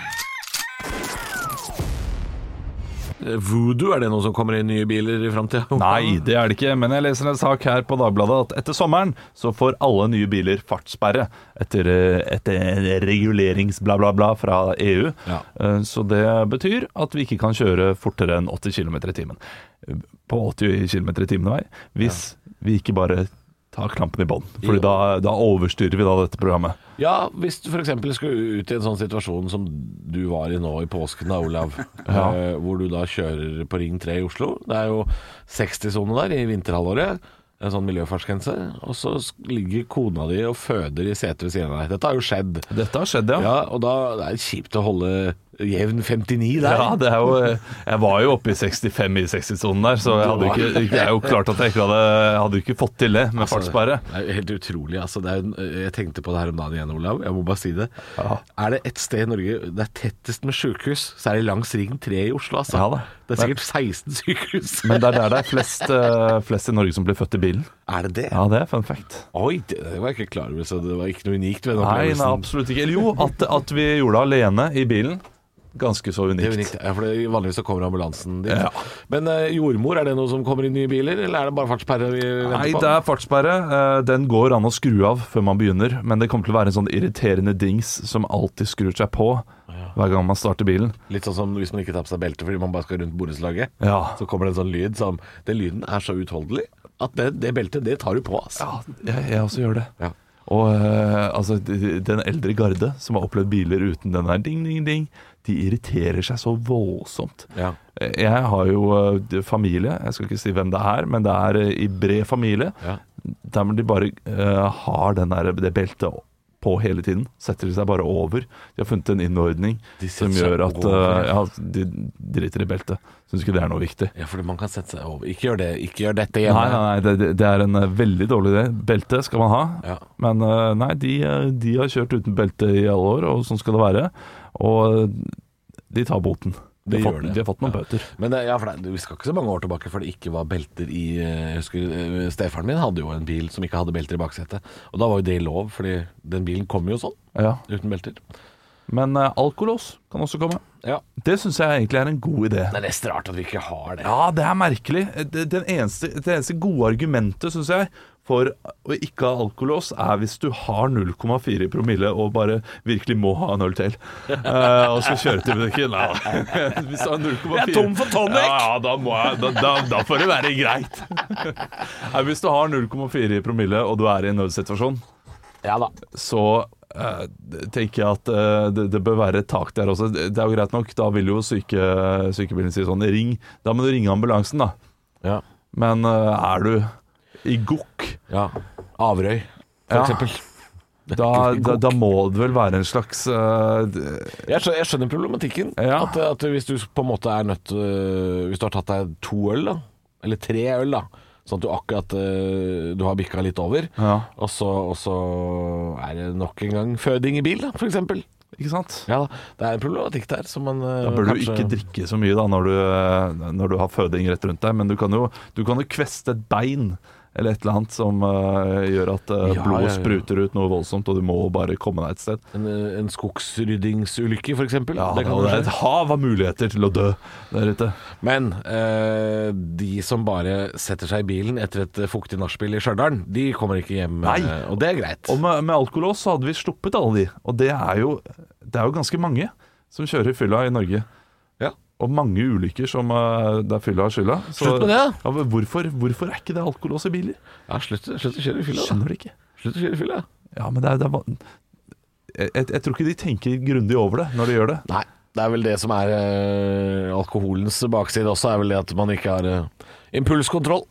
Speaker 3: Eh, Voodoo, er det noe som kommer i nye biler i framtida?
Speaker 4: Nei, det er det ikke, men jeg leser en sak her på Dagbladet at etter sommeren så får alle nye biler fartssperre etter, eh, etter reguleringsbla-bla-bla fra EU.
Speaker 3: Ja.
Speaker 4: Eh, Så det betyr at vi ikke kan kjøre fortere enn 80 km i timen. Eh, På 80 km i timen vei, hvis vi ikke bare tar klampen i bånn. Fordi da, da overstyrer vi da dette programmet.
Speaker 3: Ja, hvis du f.eks. skulle ut i en sånn situasjon som du var i nå i påsken, da, Olav. eh, hvor du da kjører på Ring 3 i Oslo. Det er jo 60-sone der i vinterhalvåret. En sånn miljøfartsgrense. Og så s- ligger kona di og føder i setet ved siden av deg. Dette har jo skjedd.
Speaker 4: Dette har skjedd, ja.
Speaker 3: Ja, og da det er det kjipt å holde jevn 59 der.
Speaker 4: Ja, det er jo, jeg var jo oppe i 65 i 60-sonen der, så jeg hadde jo ikke, det er jo klart at jeg ikke hadde, jeg hadde jo ikke fått til det
Speaker 3: Altså.
Speaker 4: med fartssperre.
Speaker 3: Det er jo helt utrolig. Altså, det er, jo en- jeg tenkte på det her om dagen igjen, Olav. Jeg må bare si det. Er det et sted i Norge det er tettest med sykehus, så er det langs Ring 3 i Oslo. Altså.
Speaker 4: Ja da.
Speaker 3: Det er sikkert 16 sykehus.
Speaker 4: Men det er der det er flest, eh, flest i Norge som blir født i bilen.
Speaker 3: er det det?
Speaker 4: Ja, det er fun fact.
Speaker 3: Oi, det, det var jeg ikke klar over, så det var ikke noe unikt ved den
Speaker 4: Nei, nei,
Speaker 3: opplevelsen.
Speaker 4: absolutt ikke. Eller jo, at, at vi gjorde det alene i bilen. Ganske så
Speaker 3: Det er
Speaker 4: unikt.
Speaker 3: unikt, ja, for det, Vanligvis så kommer ambulansen dit. Men eh, jordmor, er det noe som kommer i nye biler, eller er det bare fartssperre vi venter
Speaker 4: Nei,
Speaker 3: på?
Speaker 4: det er fartssperre. Eh, Den går an å skru av før man begynner, men det kommer til å være en sånn irriterende dings som alltid skrur seg på hver gang man starter bilen.
Speaker 3: Litt sånn som hvis man ikke tar på seg belte fordi man bare skal rundt borettslaget.
Speaker 4: Ja.
Speaker 3: Så kommer det en sånn lyd som Den lyden er så uutholdelig at det, det beltet, det tar du på, altså.
Speaker 4: Ja, jeg, jeg også gjør det.
Speaker 3: Ja.
Speaker 4: Og eh, altså, d- den eldre garde som har opplevd biler uten den der ding, ding, ding, de irriterer seg så voldsomt.
Speaker 3: Ja.
Speaker 4: Eh, Jeg har jo eh, d- familie, jeg skal ikke si hvem det er, men det er eh, i bred familie.
Speaker 3: Ja.
Speaker 4: Der hvor de bare eh, har den der, det beltet o- på hele tiden. Setter de seg bare over. De har funnet en innordning
Speaker 3: De
Speaker 4: som
Speaker 3: setter seg
Speaker 4: gjør at
Speaker 3: over,
Speaker 4: eh, ja, de driter i beltet. Syns ikke det er noe viktig.
Speaker 3: Ja, fordi man kan sette seg over. Ikke gjør det, ikke gjør dette hjemme.
Speaker 4: Nei, nei, nei det, det- det er en eh, veldig dårlig idé. Belte skal man ha.
Speaker 3: Ja.
Speaker 4: Men eh, nei, de, eh, de har kjørt uten belte i alle år, og sånn skal det være. Og eh, de tar boten. De,
Speaker 3: De gjør
Speaker 4: har fått,
Speaker 3: det.
Speaker 4: de har fått noen bøter.
Speaker 3: Men eh, ja, for det, vi skal ikke så mange år tilbake før det ikke var belter i eh, Jeg husker eh, Stefaren min hadde jo en bil som ikke hadde belter i baksetet. Og da var jo det lov, fordi den bilen kom jo sånn,
Speaker 4: Ja.
Speaker 3: uten belter.
Speaker 4: Men eh, alkolås kan også komme.
Speaker 3: Ja.
Speaker 4: Det syns jeg egentlig er en god idé.
Speaker 3: Det er nesten rart at vi ikke har det.
Speaker 4: Ja, det er merkelig. Det, den eneste, det eneste gode argumentet, syns jeg, for å ikke ha alkolås, er hvis du har 0,4 i promille og bare virkelig må ha en øl til. Eh, og skal kjøre til butikken. Nei, hvis du har 0,4 Jeg er tom for tonic! Ja, ja da, må jeg, da, da, da får det være greit. Nei, hvis du har 0,4 i promille og du er i en nødsituasjon,
Speaker 3: Ja da.
Speaker 4: så eh, tenker jeg at eh, det, det bør være et tak der også. Det det er jo greit nok, da vil jo syke, sykebilen si sånn Ring. Da må du ringe ambulansen, da.
Speaker 3: Ja.
Speaker 4: Men eh, er du i gokk,
Speaker 3: ja. Averøy, for
Speaker 4: Ja.
Speaker 3: eksempel.
Speaker 4: Ah, da, da, da må det vel være en slags eh, d-
Speaker 3: Jeg skjønner, jeg skjønner problematikken.
Speaker 4: Ja.
Speaker 3: At, at hvis du på en måte er nødt øh, Hvis du har tatt deg to øl, da, eller tre øl, da, sånn at du akkurat øh, Du har bikka litt over,
Speaker 4: Ja.
Speaker 3: og, så, og så er det nok en gang føding i bil, da, for eksempel.
Speaker 4: Ikke sant?
Speaker 3: Ja, da, det er en problematikk der som man øh,
Speaker 4: Da bør du
Speaker 3: kanskje-
Speaker 4: ikke drikke så mye da når du, eh, når du har føding rett rundt deg, men du kan jo, du kan jo kveste et bein eller et eller annet som eh, gjør at eh,
Speaker 3: Ja,
Speaker 4: blodet
Speaker 3: ja, ja.
Speaker 4: spruter ut noe voldsomt, og du må bare komme deg et sted.
Speaker 3: En, øh, en skogsryddingsulykke, for eksempel.
Speaker 4: Ja,
Speaker 3: det kan jo
Speaker 4: det er
Speaker 3: skje.
Speaker 4: et hav av muligheter til å dø der ute.
Speaker 3: Men øh, de som bare setter seg i bilen etter et eh, fuktig nachspiel i Stjørdal, de kommer ikke hjem.
Speaker 4: Nei.
Speaker 3: øh, og det er greit.
Speaker 4: Og med, med alkolås så hadde vi sluppet alle de, og det er jo, det er jo ganske mange som kjører fylla i Norge.
Speaker 3: Ja.
Speaker 4: Og mange ulykker som eh, der fylla har skylda. Så-
Speaker 3: Slutt med det,
Speaker 4: Ja, men hvorfor, hvorfor er ikke det alkolås i biler?
Speaker 3: Ja, slutt, slutt å kjøre i fylla. da.
Speaker 4: Skjønner det ikke.
Speaker 3: Slutt å kjøre i fylla.
Speaker 4: Ja, men det er, det er, van- jeg, jeg, jeg tror ikke de tenker grundig over det når de gjør det.
Speaker 3: Nei, det er vel det som er eh, alkoholens bakside også, er vel det at man ikke har eh, impulskontroll.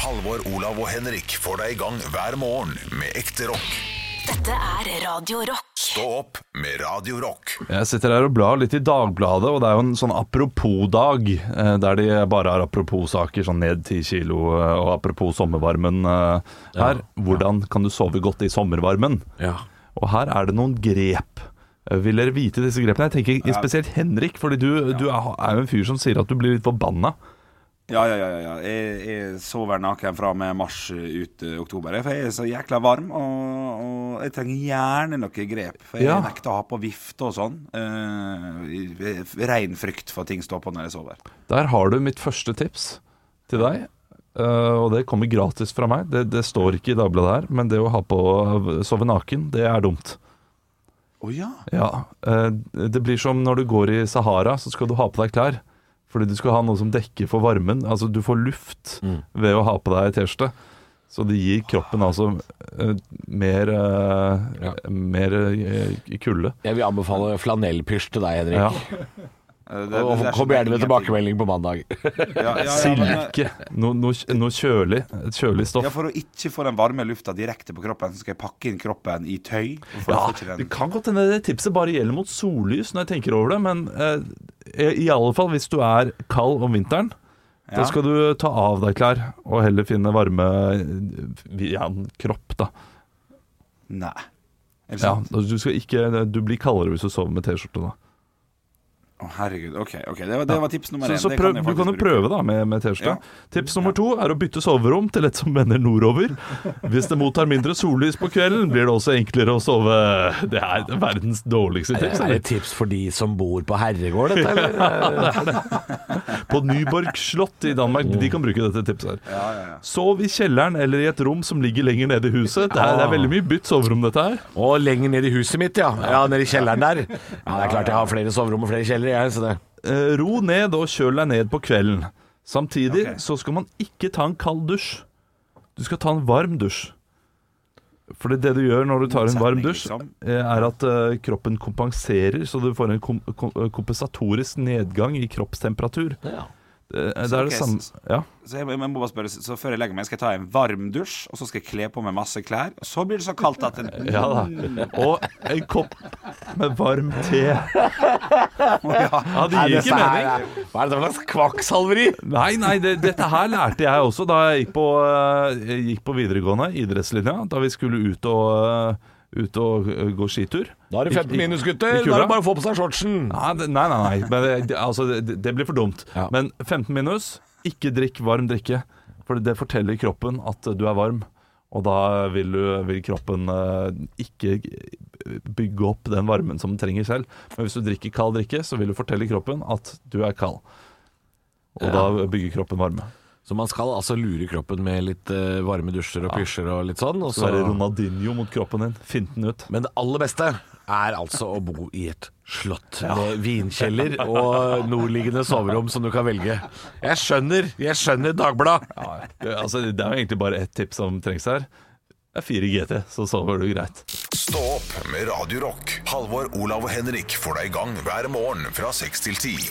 Speaker 1: Halvor, Olav og Henrik får deg i gang hver morgen med ekte rock.
Speaker 2: Dette er Radio Rock.
Speaker 1: Stå opp med Radio Rock.
Speaker 4: Jeg sitter her og blar litt i Dagbladet, og det er jo en sånn apropos-dag, eh, der de bare har apropos-saker, sånn ned ti kilo, eh, og apropos sommervarmen eh, her. Hvordan kan du sove godt i sommervarmen?
Speaker 3: Ja.
Speaker 4: Og her er det noen grep. Eh, Vil dere vite disse grepene? Jeg tenker spesielt Henrik, fordi du, du er er jo en fyr som sier at du blir litt forbanna.
Speaker 5: Ja, ja, ja. ja, ja. Jeg, jeg sover naken fra og med mars ut eh, oktober. jeg, For jeg er så jækla varm, og, og jeg trenger gjerne noe grep. For jeg
Speaker 4: Ja.
Speaker 5: nekter å ha på vifte og sånn. Eh, i- i- Rein frykt for at ting står på når jeg sover.
Speaker 4: Der har du mitt første tips til deg. eh, og det kommer gratis fra meg. Det, det står ikke i Dagbladet her, men det å ha på sove naken, det er dumt.
Speaker 5: Å ja.
Speaker 4: Ja, eh, Det blir som når du går i Sahara, så skal du ha på deg klær. Fordi du skal ha noe som dekker for varmen. Altså Du får luft ved å ha på deg T-skjorte. Så det gir kroppen altså eh, mer, eh,
Speaker 3: Ja.
Speaker 4: mer eh, kulde.
Speaker 3: Jeg vil anbefale flanellpysj til deg, Henrik.
Speaker 4: Ja.
Speaker 5: Eh, det-
Speaker 3: Og
Speaker 5: det- det er så
Speaker 3: kom gjerne med
Speaker 5: ingenting.
Speaker 3: tilbakemelding på mandag.
Speaker 5: Ja, ja, ja, men, eh,
Speaker 4: Silke. Noe no, noe kjølig. Et kjølig stoff.
Speaker 5: Ja, For å ikke få den varme lufta direkte på kroppen, så skal jeg pakke inn kroppen i tøy. For å
Speaker 4: Ja,
Speaker 5: få ikke
Speaker 4: det
Speaker 5: den.
Speaker 4: kan godt hende det tipset bare gjelder mot sollys når jeg tenker over det, men eh, i alle fall hvis du er kald om vinteren,
Speaker 5: Ja.
Speaker 4: da skal du ta av deg klær og heller finne varme via en kropp, da.
Speaker 5: Nei. Er det
Speaker 4: Ja,
Speaker 5: sant?
Speaker 4: du, skal ikke, du blir kaldere hvis du sover med T-skjorte, da.
Speaker 5: Å, herregud. OK, ok, det var, det var tips nummer
Speaker 4: Så,
Speaker 5: én.
Speaker 4: så
Speaker 5: Det
Speaker 4: prøv,
Speaker 5: jeg
Speaker 4: du kan jo
Speaker 5: faktisk bruke.
Speaker 4: prøve da med, med T-skjorte.
Speaker 5: Ja.
Speaker 4: Tips nummer to er å bytte soverom til et som vender nordover. Hvis det mottar mindre sollys på kvelden, blir det også enklere å sove. Det er verdens dårligste
Speaker 3: Det
Speaker 4: tips.
Speaker 3: er sånn et tips for de som bor på herregård, dette, eller?
Speaker 4: På Nyborg slott i Danmark. De kan bruke dette tipset her. Sov i kjelleren eller i et rom som ligger lenger nede i huset. Det er, det er veldig mye bytt soverom, dette her.
Speaker 3: Og lenger ned i huset mitt, ja. Ja, Nede i kjelleren der. Ja, Det er klart jeg har flere soverom og flere kjellere, jeg. Så det.
Speaker 4: Eh, ro ned og kjøl deg ned på kvelden. Samtidig så skal man ikke ta en kald dusj. Du skal ta en varm dusj. For det du gjør når du tar en varm
Speaker 5: Motsetning,
Speaker 4: dusj,
Speaker 5: liksom.
Speaker 4: eh, er at eh, kroppen kompenserer, så du får en kom kom kompensatorisk nedgang i kroppstemperatur.
Speaker 3: Ja.
Speaker 4: Eh, det er
Speaker 5: ok,
Speaker 4: det samme
Speaker 5: så-
Speaker 4: Ja.
Speaker 5: Så jeg, jeg må bare spørre, så før jeg legger meg, skal jeg ta en varm dusj, og så skal jeg kle på meg masse klær, og så blir det så kaldt at en
Speaker 4: Ja da. Og en kopp med varm te. Ja, det gir ikke mening.
Speaker 3: Hva er det for slags kvakksalveri?
Speaker 4: Nei, nei, det, dette her lærte jeg også da jeg gikk på, eh, jeg gikk på videregående, idrettslinja, da vi skulle ut og, eh, ut og eh, gå skitur.
Speaker 3: Da er det 15 minus, gutter.
Speaker 4: I
Speaker 3: Da
Speaker 4: kula?
Speaker 3: er det bare å få på seg shortsen.
Speaker 4: Nei, det- nei, nei, nei. Men det, det- altså, det, det blir for dumt.
Speaker 3: Ja.
Speaker 4: Men 15 minus, ikke drikk varm drikke. For det forteller kroppen at du er varm. Og da vil, du, vil kroppen eh, ikke bygge opp den varmen som den trenger selv. Men hvis du drikker kald drikke, så vil du fortelle kroppen at du er kald. Og da bygger kroppen varme.
Speaker 3: Så man skal altså lure kroppen med litt eh, varme dusjer og pysjer og litt sånn. Og
Speaker 4: Så
Speaker 3: så
Speaker 4: er det Ronaldinho mot kroppen din. Fint den ut.
Speaker 3: Men det aller beste er altså å bo i et slott med vinkjeller og nordliggende soverom som du kan velge. Jeg skjønner, jeg skjønner Dagbladet.
Speaker 4: Det, altså, det er jo egentlig bare ett tips som trengs her. Det er 4 GT, så sover du greit.
Speaker 1: Stå opp med Radio Rock. Halvor, Olav og Henrik får deg i gang hver morgen fra 6 til 10.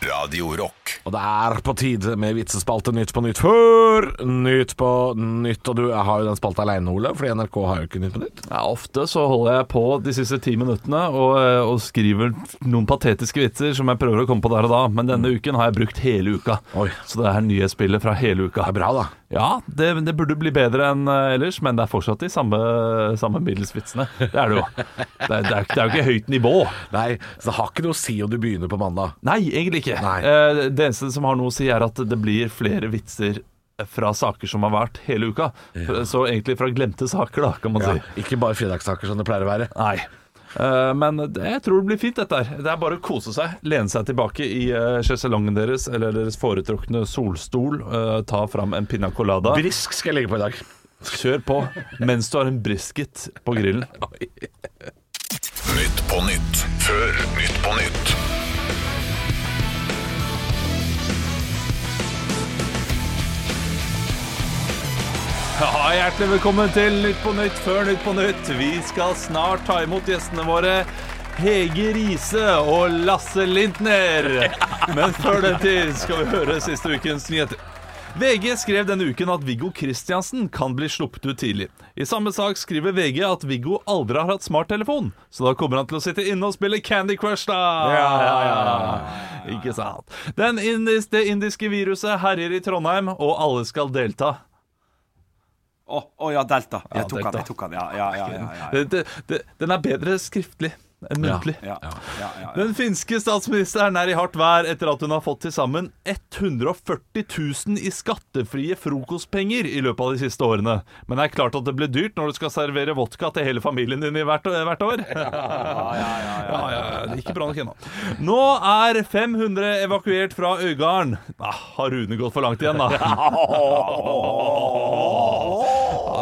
Speaker 1: Radio Rock.
Speaker 3: Og det er på tide med vitsespalte Nytt på nytt før Nytt på nytt. Og du har jo den spalta aleine, Ole, fordi NRK har jo ikke Nytt på nytt.
Speaker 4: Ja, ofte så holder jeg på de siste ti minuttene og, eh, og skriver noen patetiske vitser som jeg prøver å komme på der og da, men denne uken har jeg brukt hele uka.
Speaker 3: Mm. Oi.
Speaker 4: Så det er nyhetsbildet fra hele uka.
Speaker 3: Det er bra, da.
Speaker 4: Ja, det, det burde bli bedre enn eh, ellers, men det er fortsatt de samme, samme middelsvitsene. Det er det jo. Det er, det, er, det er jo ikke høyt nivå.
Speaker 3: Nei, så det har ikke noe å si om du begynner på mandag.
Speaker 4: Nei, egentlig ikke.
Speaker 3: Nei.
Speaker 4: Eh, det eneste som har noe å si, er at det blir flere vitser fra saker som har vært hele uka. Så egentlig fra glemte saker, da, kan man
Speaker 3: Ja,
Speaker 4: si.
Speaker 3: ikke bare fredagssaker som det pleier å være.
Speaker 4: Nei. Eh, men det, jeg tror det blir fint, dette her. Det er bare å kose seg. Lene seg tilbake i uh, sjeselongen deres, eller deres foretrukne solstol. eh, ta fram en piña colada.
Speaker 3: Brisk skal jeg ligge på i dag.
Speaker 4: Kjør på mens du har en brisket på grillen.
Speaker 1: Nytt på nytt før Nytt på nytt.
Speaker 4: Ja, Hjertelig velkommen til Nytt på Nytt før Nytt på Nytt. Vi skal snart ta imot gjestene våre. Hege Riise og Lasse Lintner. Men før den tid skal vi høre siste ukens nyheter. VG skrev denne uken at Viggo Kristiansen kan bli sluppet ut tidlig. I samme sak skriver VG at Viggo aldri har hatt smarttelefon, så da kommer han til å sitte inne og spille Candy Crush, da! Ikke sant. Den indis, det indiske viruset herjer i Trondheim, og alle skal delta.
Speaker 5: Å, å ja, Delta. Jeg tok
Speaker 4: Delta.
Speaker 5: han, jeg tok han. Ja, ja, ja. ja, ja, ja.
Speaker 4: Det, det, det, den er bedre skriftlig enn muntlig.
Speaker 5: Ja, ja, ja, ja.
Speaker 4: Den finske statsministeren er i hardt vær etter at hun har fått til sammen 140 000 i skattefrie frokostpenger i løpet av de siste årene. Men det er klart at det blir dyrt når du skal servere vodka til hele familien din i hvert, hvert år. Ja, ja, ja, det er ikke bra nok ennå. Nå er 500 evakuert fra Øygarden. Ah, har Rune gått for langt igjen, da? Ja,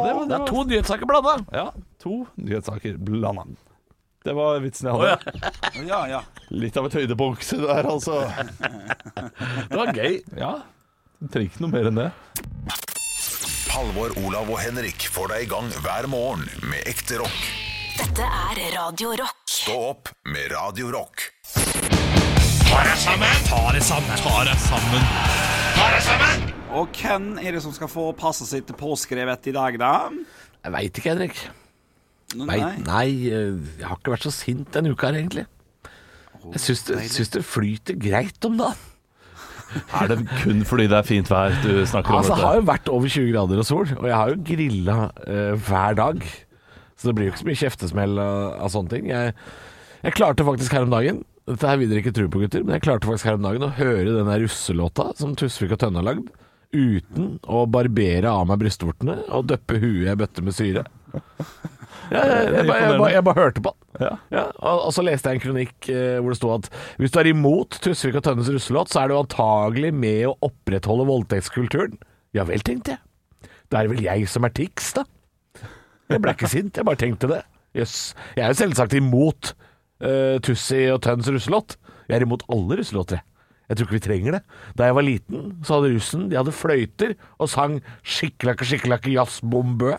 Speaker 4: det, var, det, var,
Speaker 3: to nyhetssaker blanda.
Speaker 4: ja, to nyhetssaker blanda. Det var vitsen jeg hadde.
Speaker 5: ja, ja.
Speaker 4: Litt av et høydepunkt der, altså.
Speaker 3: Det var gøy.
Speaker 4: Ja. Du trenger ikke noe mer enn det.
Speaker 1: Halvor, Olav og Henrik får deg i gang hver morgen med ekte rock.
Speaker 2: Dette er Radio Rock.
Speaker 1: Stå opp med Radio Rock.
Speaker 5: Og hvem er det som skal få passet sitt påskrevet i dag, da?
Speaker 3: Jeg veit ikke, Henrik. Nei,
Speaker 5: Nei.
Speaker 3: nei, eh, jeg har ikke vært så sint denne uka her, egentlig. Jeg syns det, syns det flyter greit om dagen.
Speaker 4: Er det kun fordi det er fint vær du snakker
Speaker 3: Altså, det har jo vært over 20 grader og sol, og jeg har jo grilla eh, hver dag. Så det blir jo ikke så mye kjeftesmell av, av sånne ting. Jeg, jeg klarte faktisk her om dagen Dette her vil dere ikke tro på, gutter, men jeg klarte faktisk her om dagen å høre den der russelåta som Tusvik og Tønne har lagd, uten å barbere av meg brystvortene og døppe huet i ei bøtte med syre. Ja, jeg, jeg, bare- jeg, bare- jeg bare hørte på den. Ja, og, og så leste jeg en kronikk eh, hvor det sto at hvis du er imot Tusvik og Tønnes russelåt, så er du antagelig med å opprettholde voldtektskulturen. Ja vel, tenkte jeg. Det er vel jeg som er tics, da. Jeg ble ikke sint, jeg bare tenkte det. Jøss. Jeg er jo selvsagt imot eh, Tussi og Tønns russelåt. Jeg er imot alle russelåter, jeg. Jeg tror ikke vi trenger det. Da jeg var liten, så hadde russen De hadde fløyter og sang 'Skikkelakke, skikkelakke, jazz, bombø'.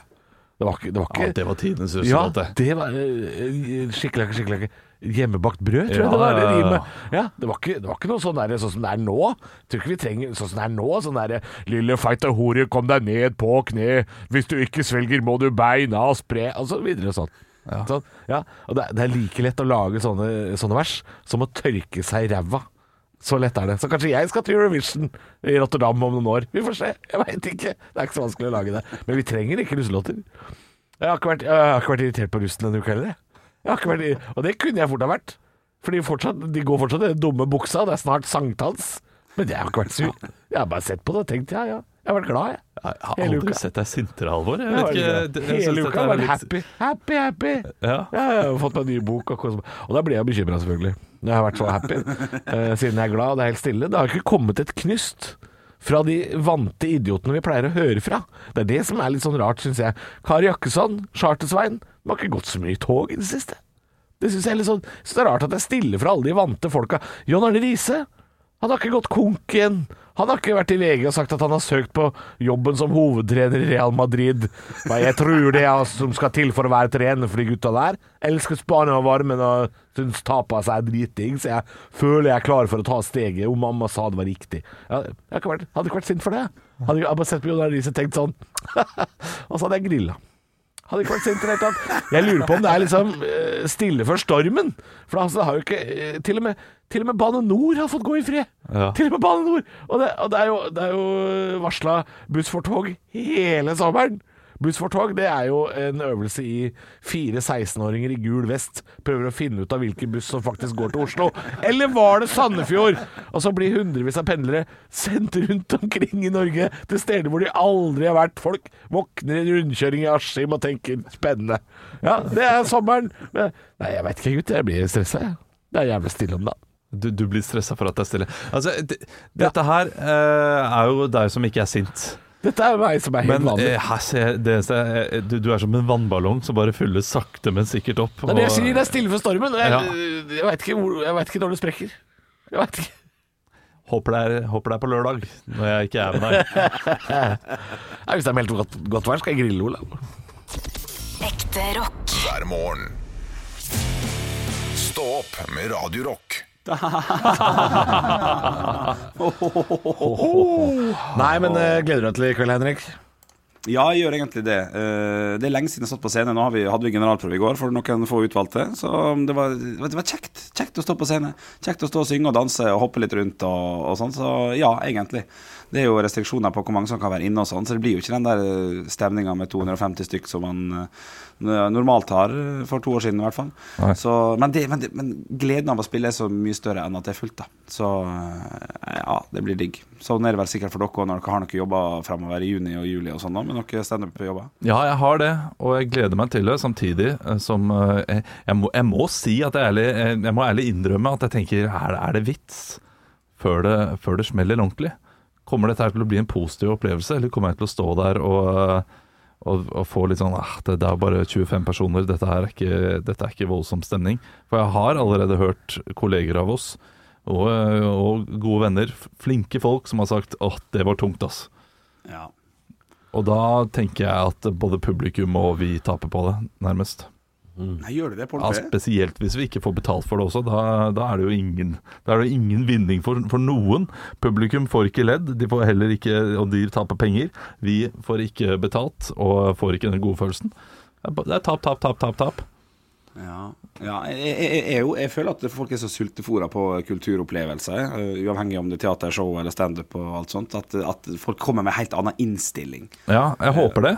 Speaker 3: Det var ikke, det var ikke
Speaker 4: Ja, det var tidenes
Speaker 3: ja,
Speaker 4: russelåt, det.
Speaker 3: det var eh, skikkelig, skikkelig Hjemmebakt brød, tror jeg
Speaker 4: Ja,
Speaker 3: det var. Det,
Speaker 4: ja, ja.
Speaker 3: rimet. ja, det, var ikke, det var ikke noe sånn, der, sånn som det er nå. Jeg Tror ikke vi trenger sånn som det er nå. Sånn derre 'Lille feite hore, kom deg ned på kne. Hvis du ikke svelger, må du beina spre' Og så videre og sånn. Sånn, ja. Og det, er- det er like lett å lage sånne, sånne vers som å tørke seg i ræva. Så lett er det. Så kanskje jeg skal til Eurovision i Rotterdam om noen år. Vi får se. Jeg veit ikke. Det er ikke så vanskelig å lage det. Men vi trenger ikke russelåter. Jeg har ikke vært, jeg har ikke vært irritert på russen denne uka heller. jeg. Jeg har ikke vært, irri- og det kunne jeg fort ha vært. Fordi fortsatt, de går fortsatt i den dumme buksa, det er snart sankthans. Men jeg har ikke vært sur. Jeg har bare sett på det og tenkt ja, ja. Jeg har vært glad, jeg.
Speaker 4: Jeg har
Speaker 3: Hele
Speaker 4: aldri
Speaker 3: uka.
Speaker 4: sett deg sintere, Halvor. Jeg
Speaker 3: Jeg
Speaker 4: vet
Speaker 3: har
Speaker 4: ikke,
Speaker 3: vært
Speaker 4: det-
Speaker 3: glad.
Speaker 4: jeg synes
Speaker 3: Hele
Speaker 4: dette
Speaker 3: uka
Speaker 4: er
Speaker 3: har vært
Speaker 4: litt-
Speaker 3: happy, happy, happy.
Speaker 4: Ja.
Speaker 3: jeg har fått meg ny bok. Og, kos meg. og da blir jeg bekymra, selvfølgelig. Når jeg har vært så happy. Eh, siden jeg er glad og det er helt stille. Det har ikke kommet et knust fra de vante idiotene vi pleier å høre fra. Det er det som er litt sånn rart, syns jeg. Kari Jakkesson, Charter-Svein, de har ikke gått så mye i tog i det siste. Det syns jeg er litt sånn så Det er rart at det er stille fra alle de vante folka. John Arne Riise
Speaker 9: Han har ikke gått konk igjen. Han har ikke vært i VG og sagt at han har søkt på jobben som hovedtrener i Real Madrid. Men jeg tror det er som skal til for å være trener for de gutta der. Elsker Spania og varmen og syns tapet seg er dritdigg, så jeg føler jeg er klar for å ta steget. Om mamma sa det var riktig. Ja, Jeg har ikke vært, hadde ikke vært sint for det. Hadde jeg bare sett på Jon Arne Riise og tenkt sånn. og så hadde jeg grilla. Hadde ikke vært sint i det hele tatt. Jeg lurer på om det er liksom eh, stille før stormen. For altså, det har jo ikke eh, Til og med, til og med Bane Nor har fått gå i fred.
Speaker 4: Ja.
Speaker 9: Til og med Bane Nor. Og det, og det er jo, det er jo varsla buss for tog hele sommeren. Buss for tog det er jo en øvelse i fire 16-åringer i gul vest prøver å finne ut av hvilken buss som faktisk går til Oslo. Eller var det Sandefjord? Og så blir hundrevis av pendlere sendt rundt omkring i Norge til steder hvor de aldri har vært. Folk våkner i en rundkjøring i Askim og tenker 'spennende'. Ja, det er sommeren. Men- Nei, jeg veit ikke, gutt. Jeg blir stressa, jeg. Det er jævlig stille om dagen.
Speaker 4: Du, du blir stressa for at det er stille. Altså, det, dette her eh, er jo deg som ikke er sint.
Speaker 9: Dette er jo meg som er helt
Speaker 4: Men
Speaker 9: vanlig.
Speaker 4: eh, her ser jeg- det eneste er- eh, du, du er som en vannballong som bare fyller sakte, men sikkert opp.
Speaker 9: Det er det jeg
Speaker 4: og-
Speaker 9: sier, det er stille for stormen. og Jeg,
Speaker 4: Ja.
Speaker 9: jeg veit ikke, hvor- jeg vet ikke når det sprekker. Jeg vet ikke.
Speaker 4: håper, det er, håper det er på lørdag, når jeg ikke er med deg.
Speaker 9: Nei, hvis det er meldt godt, godt vær, skal jeg grille, Olav.
Speaker 2: Ekte rock.
Speaker 1: hver morgen. Stå opp med Radio Rock.
Speaker 3: Nei, men eh, gleder du deg til i kveld, Henrik?
Speaker 5: Ja, jeg gjør egentlig det. Eh, Det er lenge siden jeg satt på scenen. Nå har vi, hadde vi generalprøve i går for noen få utvalgte. Så um, det var, det var kjekt. Kjekt å stå på scenen. Kjekt å stå og synge og danse og hoppe litt rundt og, og sånn. Så ja, egentlig. Det er jo restriksjoner på hvor mange som kan være inne og sånn, så det blir jo ikke den der stemninga med 250 stykk som man eh, normalt har eh, for to år siden, i hvert fall. Så, men, det, men, det, men gleden av å spille er så mye større enn at det er fullt, da. Så eh, ja, det blir digg. Sånn er det vel sikkert for dere også når dere har noen jobber fremover i juni og juli og sånn, da, med noen standup-jobber.
Speaker 4: Ja, jeg har det, og jeg gleder meg til det, samtidig eh, som eh, jeg, jeg, må, jeg må si at jeg ærlig, eh, jeg, jeg må ærlig innrømme at jeg tenker er, det- er det vits før det, før det smeller ordentlig? Kommer dette her til å bli en positiv opplevelse, eller kommer jeg til å stå der og eh, og, og få litt sånn ah, det, det er bare 25 personer, dette, her er ikke, dette er ikke voldsom stemning. For jeg har allerede hørt kolleger av oss og, eh, og gode venner, f- flinke folk, som har sagt at det var tungt, ass.
Speaker 5: Ja.
Speaker 4: Og da tenker jeg at både publikum og vi taper på det, nærmest.
Speaker 5: Nei, gjør du det på
Speaker 4: Ja,
Speaker 5: ordentlig?
Speaker 4: spesielt hvis vi ikke får betalt for det også. Da, da er det jo ingen, da er det jo ingen vinning for, for noen. Publikum får ikke ledd, de får heller ikke, og de taper penger. Vi får ikke betalt og får ikke den gode følelsen. Det er ba- Det er tap, tap, tap, tap. tap.
Speaker 5: Ja, ja jeg, jeg, jeg, er jo, jeg føler at folk er så sultefòra på kulturopplevelser, eh, uavhengig om det er teatershow eller standup og alt sånt, at, at folk kommer med en helt annen innstilling.
Speaker 4: Ja, jeg håper det.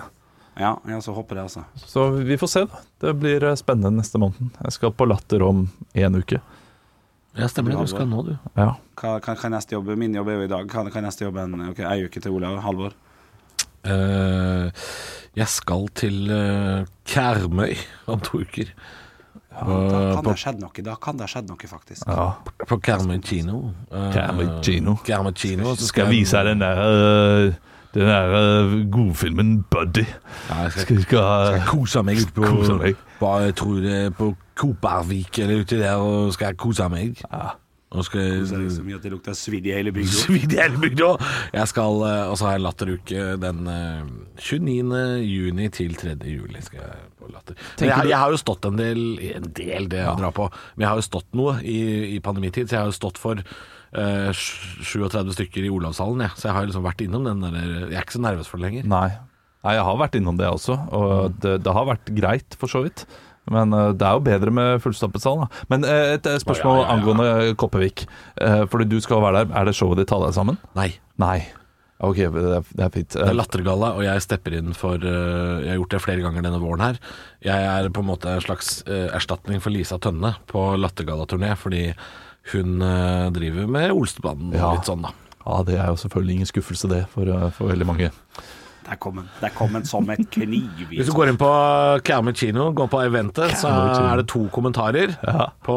Speaker 5: Ja, jeg også håper det, altså.
Speaker 4: Så vi får se. da. Det blir eh, spennende neste måned. Jeg skal på Latter om én uke.
Speaker 3: Ja, stemmer det. Du skal nå, du.
Speaker 4: Ja.
Speaker 5: Hva, hva, hva er neste jobb? Min jobb er jo i dag. Hva, hva er neste jobb en ok, ei uke til Olav? Halvor?
Speaker 3: Eh, jeg skal til eh, Karmøy om to uker.
Speaker 5: Da
Speaker 3: Eh,
Speaker 5: kan
Speaker 3: på,
Speaker 5: det ha skjedd noe, da kan det ha skjedd noe, faktisk.
Speaker 4: ja.
Speaker 3: på Karmøy kino. Eh,
Speaker 4: Karmøy kino.
Speaker 3: Karmøy kino. Så
Speaker 4: Skal jeg vise deg den der øh, Den der øh, godfilmen Buddy.
Speaker 3: Ja, jeg skal,
Speaker 4: Skal, skal,
Speaker 3: skal kose meg ute på
Speaker 4: eh, Kose meg.
Speaker 3: På, jeg tror det er på Kopervik eller uti der, og skal jeg kose meg. Og skal
Speaker 5: Så er det så mye at det lukter svidd i hele bygda.
Speaker 3: Svidd i hele bygda. Jeg skal eh, Og så har jeg latteruke den eh, 29. juni til 3. juli. Skal jeg på latter. Men jeg, jeg har jo stått en del En del, det jeg drar på. Men jeg har jo stått noe i, i pandemitid, så jeg har jo stått for eh, sj- 37 stykker i Olavshallen, jeg. Så jeg har jo liksom vært innom den der Jeg er ikke så nervøs for det lenger.
Speaker 4: Nei. Nei, jeg har vært innom det også, og
Speaker 3: Mm.
Speaker 4: det, det har vært greit, for så vidt. Men eh, det er jo bedre med fullstappet sal. da. Men eh, et eh, spørsmål
Speaker 3: Å, ja, ja, ja.
Speaker 4: angående Kopervik. Eh, Fordi du skal være der. Er det showet ditt 'Ta deg sammen'?
Speaker 3: Nei.
Speaker 4: Nei. OK, det er, det er fint.
Speaker 3: Det er
Speaker 4: Eh,
Speaker 3: lattergalla, og jeg stepper inn for eh, Jeg har gjort det flere ganger denne våren her. Jeg er på en måte en slags eh, erstatning for Lisa Tønne på lattergallaturné, fordi hun eh, driver med Olsenbanden og
Speaker 4: Ja.
Speaker 3: litt sånn, da.
Speaker 4: Ja, det er jo selvfølgelig ingen skuffelse, det, for, eh, for veldig mange.
Speaker 5: Der kom den. Der kom den som et kniv. i
Speaker 3: Hvis du går inn på Karmøy kino, går på eventet, så
Speaker 4: kino.
Speaker 3: er det to kommentarer på,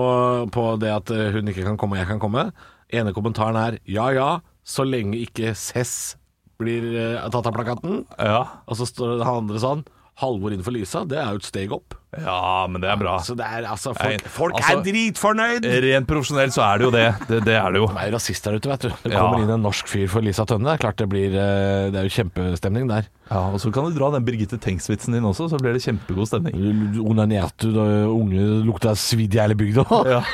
Speaker 3: på det at eh, hun ikke kan komme og jeg kan komme. Ene kommentaren er ja ja, så lenge ikke Cess blir eh, tatt av plakaten.
Speaker 4: Ja.
Speaker 3: Og så står det han andre sånn Halvor innenfor Lysa, det er jo et steg opp.
Speaker 4: Ja, men det er bra.
Speaker 3: Så det er altså
Speaker 4: Nei,
Speaker 3: Folk, folk
Speaker 4: altså-
Speaker 3: er dritfornøyd!
Speaker 4: Rent profesjonelt så er det jo det. Det, det er det jo.
Speaker 3: Det er jo rasist der ute, vet du. Det
Speaker 4: Ja.
Speaker 3: kommer inn en norsk fyr for Lisa Tønne. Det er klart det blir eh, Det er jo kjempestemning der.
Speaker 4: Ja, og Så kan du dra den Birgitte Tengs-vitsen din også, så blir det kjempegod stemning.
Speaker 3: Onanerte du da unge lukta svidd i hele bygda?
Speaker 4: Ja.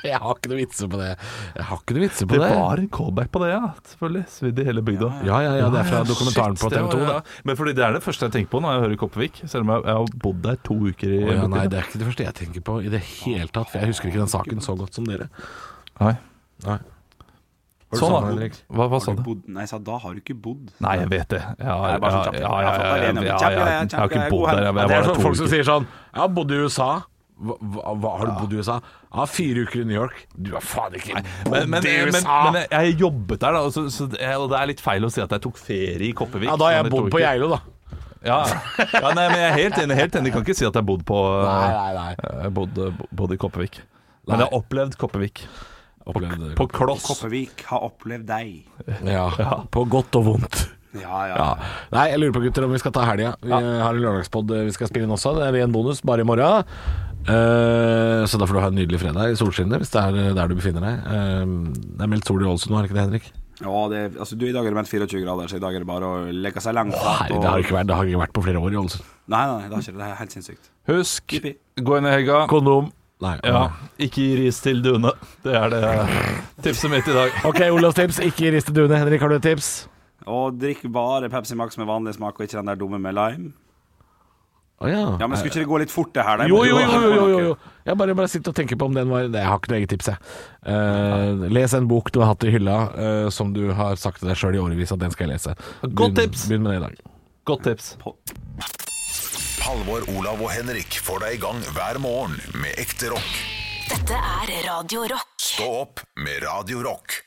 Speaker 3: Jeg har ikke noe vitser på det. Jeg har ikke noe vitser på
Speaker 4: Det
Speaker 3: det.
Speaker 4: var en callback på det, ja. Selvfølgelig. Svidd i hele bygda.
Speaker 3: Ja, ja, ja, det er fra
Speaker 4: Ja,
Speaker 3: dokumentaren
Speaker 4: shit,
Speaker 3: på TV 2.
Speaker 4: det var- ja. Men fordi det er det første jeg tenker på når jeg hører Kopervik, selv om jeg, jeg har bodd der to uker i
Speaker 3: Å ja, nei,
Speaker 4: Brooklyn.
Speaker 3: det er ikke det første jeg tenker på i det hele tatt. For jeg husker ikke den saken så godt som dere.
Speaker 4: Nei.
Speaker 3: Nei.
Speaker 4: Sånn,
Speaker 3: savnet
Speaker 4: da.
Speaker 3: Henrik?
Speaker 4: Hva, hva sa
Speaker 5: Har du
Speaker 4: du?
Speaker 5: bodd? Nei, jeg sa da har du ikke bodd.
Speaker 4: Nei, jeg vet det. Ja,
Speaker 5: Nei, bare sånn kjapt.
Speaker 4: ja, ja, ja, ja,
Speaker 5: Jeg
Speaker 4: ja,
Speaker 5: har fått alene.
Speaker 4: ja,
Speaker 5: Kjapt,
Speaker 4: ja. Jeg
Speaker 5: jeg er
Speaker 4: har ikke
Speaker 5: kjapt, jeg er
Speaker 4: bodd
Speaker 5: god
Speaker 4: der. Jeg,
Speaker 3: Ja, det
Speaker 4: jeg var
Speaker 3: er
Speaker 4: der
Speaker 3: sånn
Speaker 4: to
Speaker 3: folk som
Speaker 4: uker.
Speaker 3: sier sånn Ja, bodde i USA. Hva, hva, hva- har du bodd i USA? Ja, fire uker i New York. Du har faen ikke bodd
Speaker 4: Men, men,
Speaker 3: i
Speaker 4: men,
Speaker 3: USA!
Speaker 4: men jeg jobbet der, da, og så, så, jeg- og det er litt feil å si at jeg tok ferie i Kopervik.
Speaker 3: ja, da har jeg
Speaker 4: sånn i to
Speaker 3: bodd på
Speaker 4: uker.
Speaker 3: Geilo, da.
Speaker 4: Ja, ja nei, men jeg er helt enig. Helt enig. Jeg kan ikke si at jeg bodde på eh,
Speaker 3: Nei, nei, nei.
Speaker 4: Jeg bodde, bodde i Kopervik. Men jeg har opplevd Kopervik.
Speaker 3: Opplevde
Speaker 4: På kloss.
Speaker 5: Kopervik har opplevd deg.
Speaker 3: ja, På godt og vondt.
Speaker 5: Ja, ja.
Speaker 3: Ja. Nei, jeg lurer på gutter om vi skal ta helga. Vi eh, har en lørdagspod vi skal spille inn også. Det er en bonus bare i morgen. Eh, så da får du ha en nydelig fredag i solskinnet, hvis det er eh, der du befinner deg. Eh, det er meldt sol i Ålesund nå, er det ikke det, Henrik?
Speaker 5: Ja, det, altså, du, I dag er det meldt 24 grader, så i dag er det bare å legge seg langt
Speaker 3: Nei,
Speaker 5: flat.
Speaker 3: det har ikke vært, det har ikke vært på flere år i Ålesund.
Speaker 5: Nei, nei, det har ikke det. Det er helt sinnssykt.
Speaker 4: Husk,
Speaker 5: Jippi.
Speaker 4: gå inn i helga.
Speaker 3: Kondom. Nei.
Speaker 4: Ja,
Speaker 3: nei.
Speaker 4: ikke gi ris til Dune. Det er det tipset mitt i dag.
Speaker 3: Ok, Olavs tips. Ikke rist i duene. Henrik, har du et tips?
Speaker 5: Og drikk bare Pepsi Max med vanlig smak, og ikke den der dumme med lime.
Speaker 3: Å ja.
Speaker 5: Ja, men Skulle ikke det gå litt fort, det her? da?
Speaker 3: Jo, jo, jo, jo, jo, jo, jo. Jeg bare, bare sitter og tenker på om den var Nei, Jeg har ikke noe eget tips, jeg. Eh, les en bok du har hatt i hylla eh, som du har sagt til deg sjøl i årevis at den skal jeg lese.
Speaker 4: Godt
Speaker 3: Begynn-
Speaker 4: tips.
Speaker 3: Begynn med det i dag.
Speaker 4: Godt tips.
Speaker 1: Halvor, Olav og Henrik får deg i gang hver morgen med ekte rock.
Speaker 2: Dette er Radio Rock.
Speaker 1: Stå opp med Radio Rock.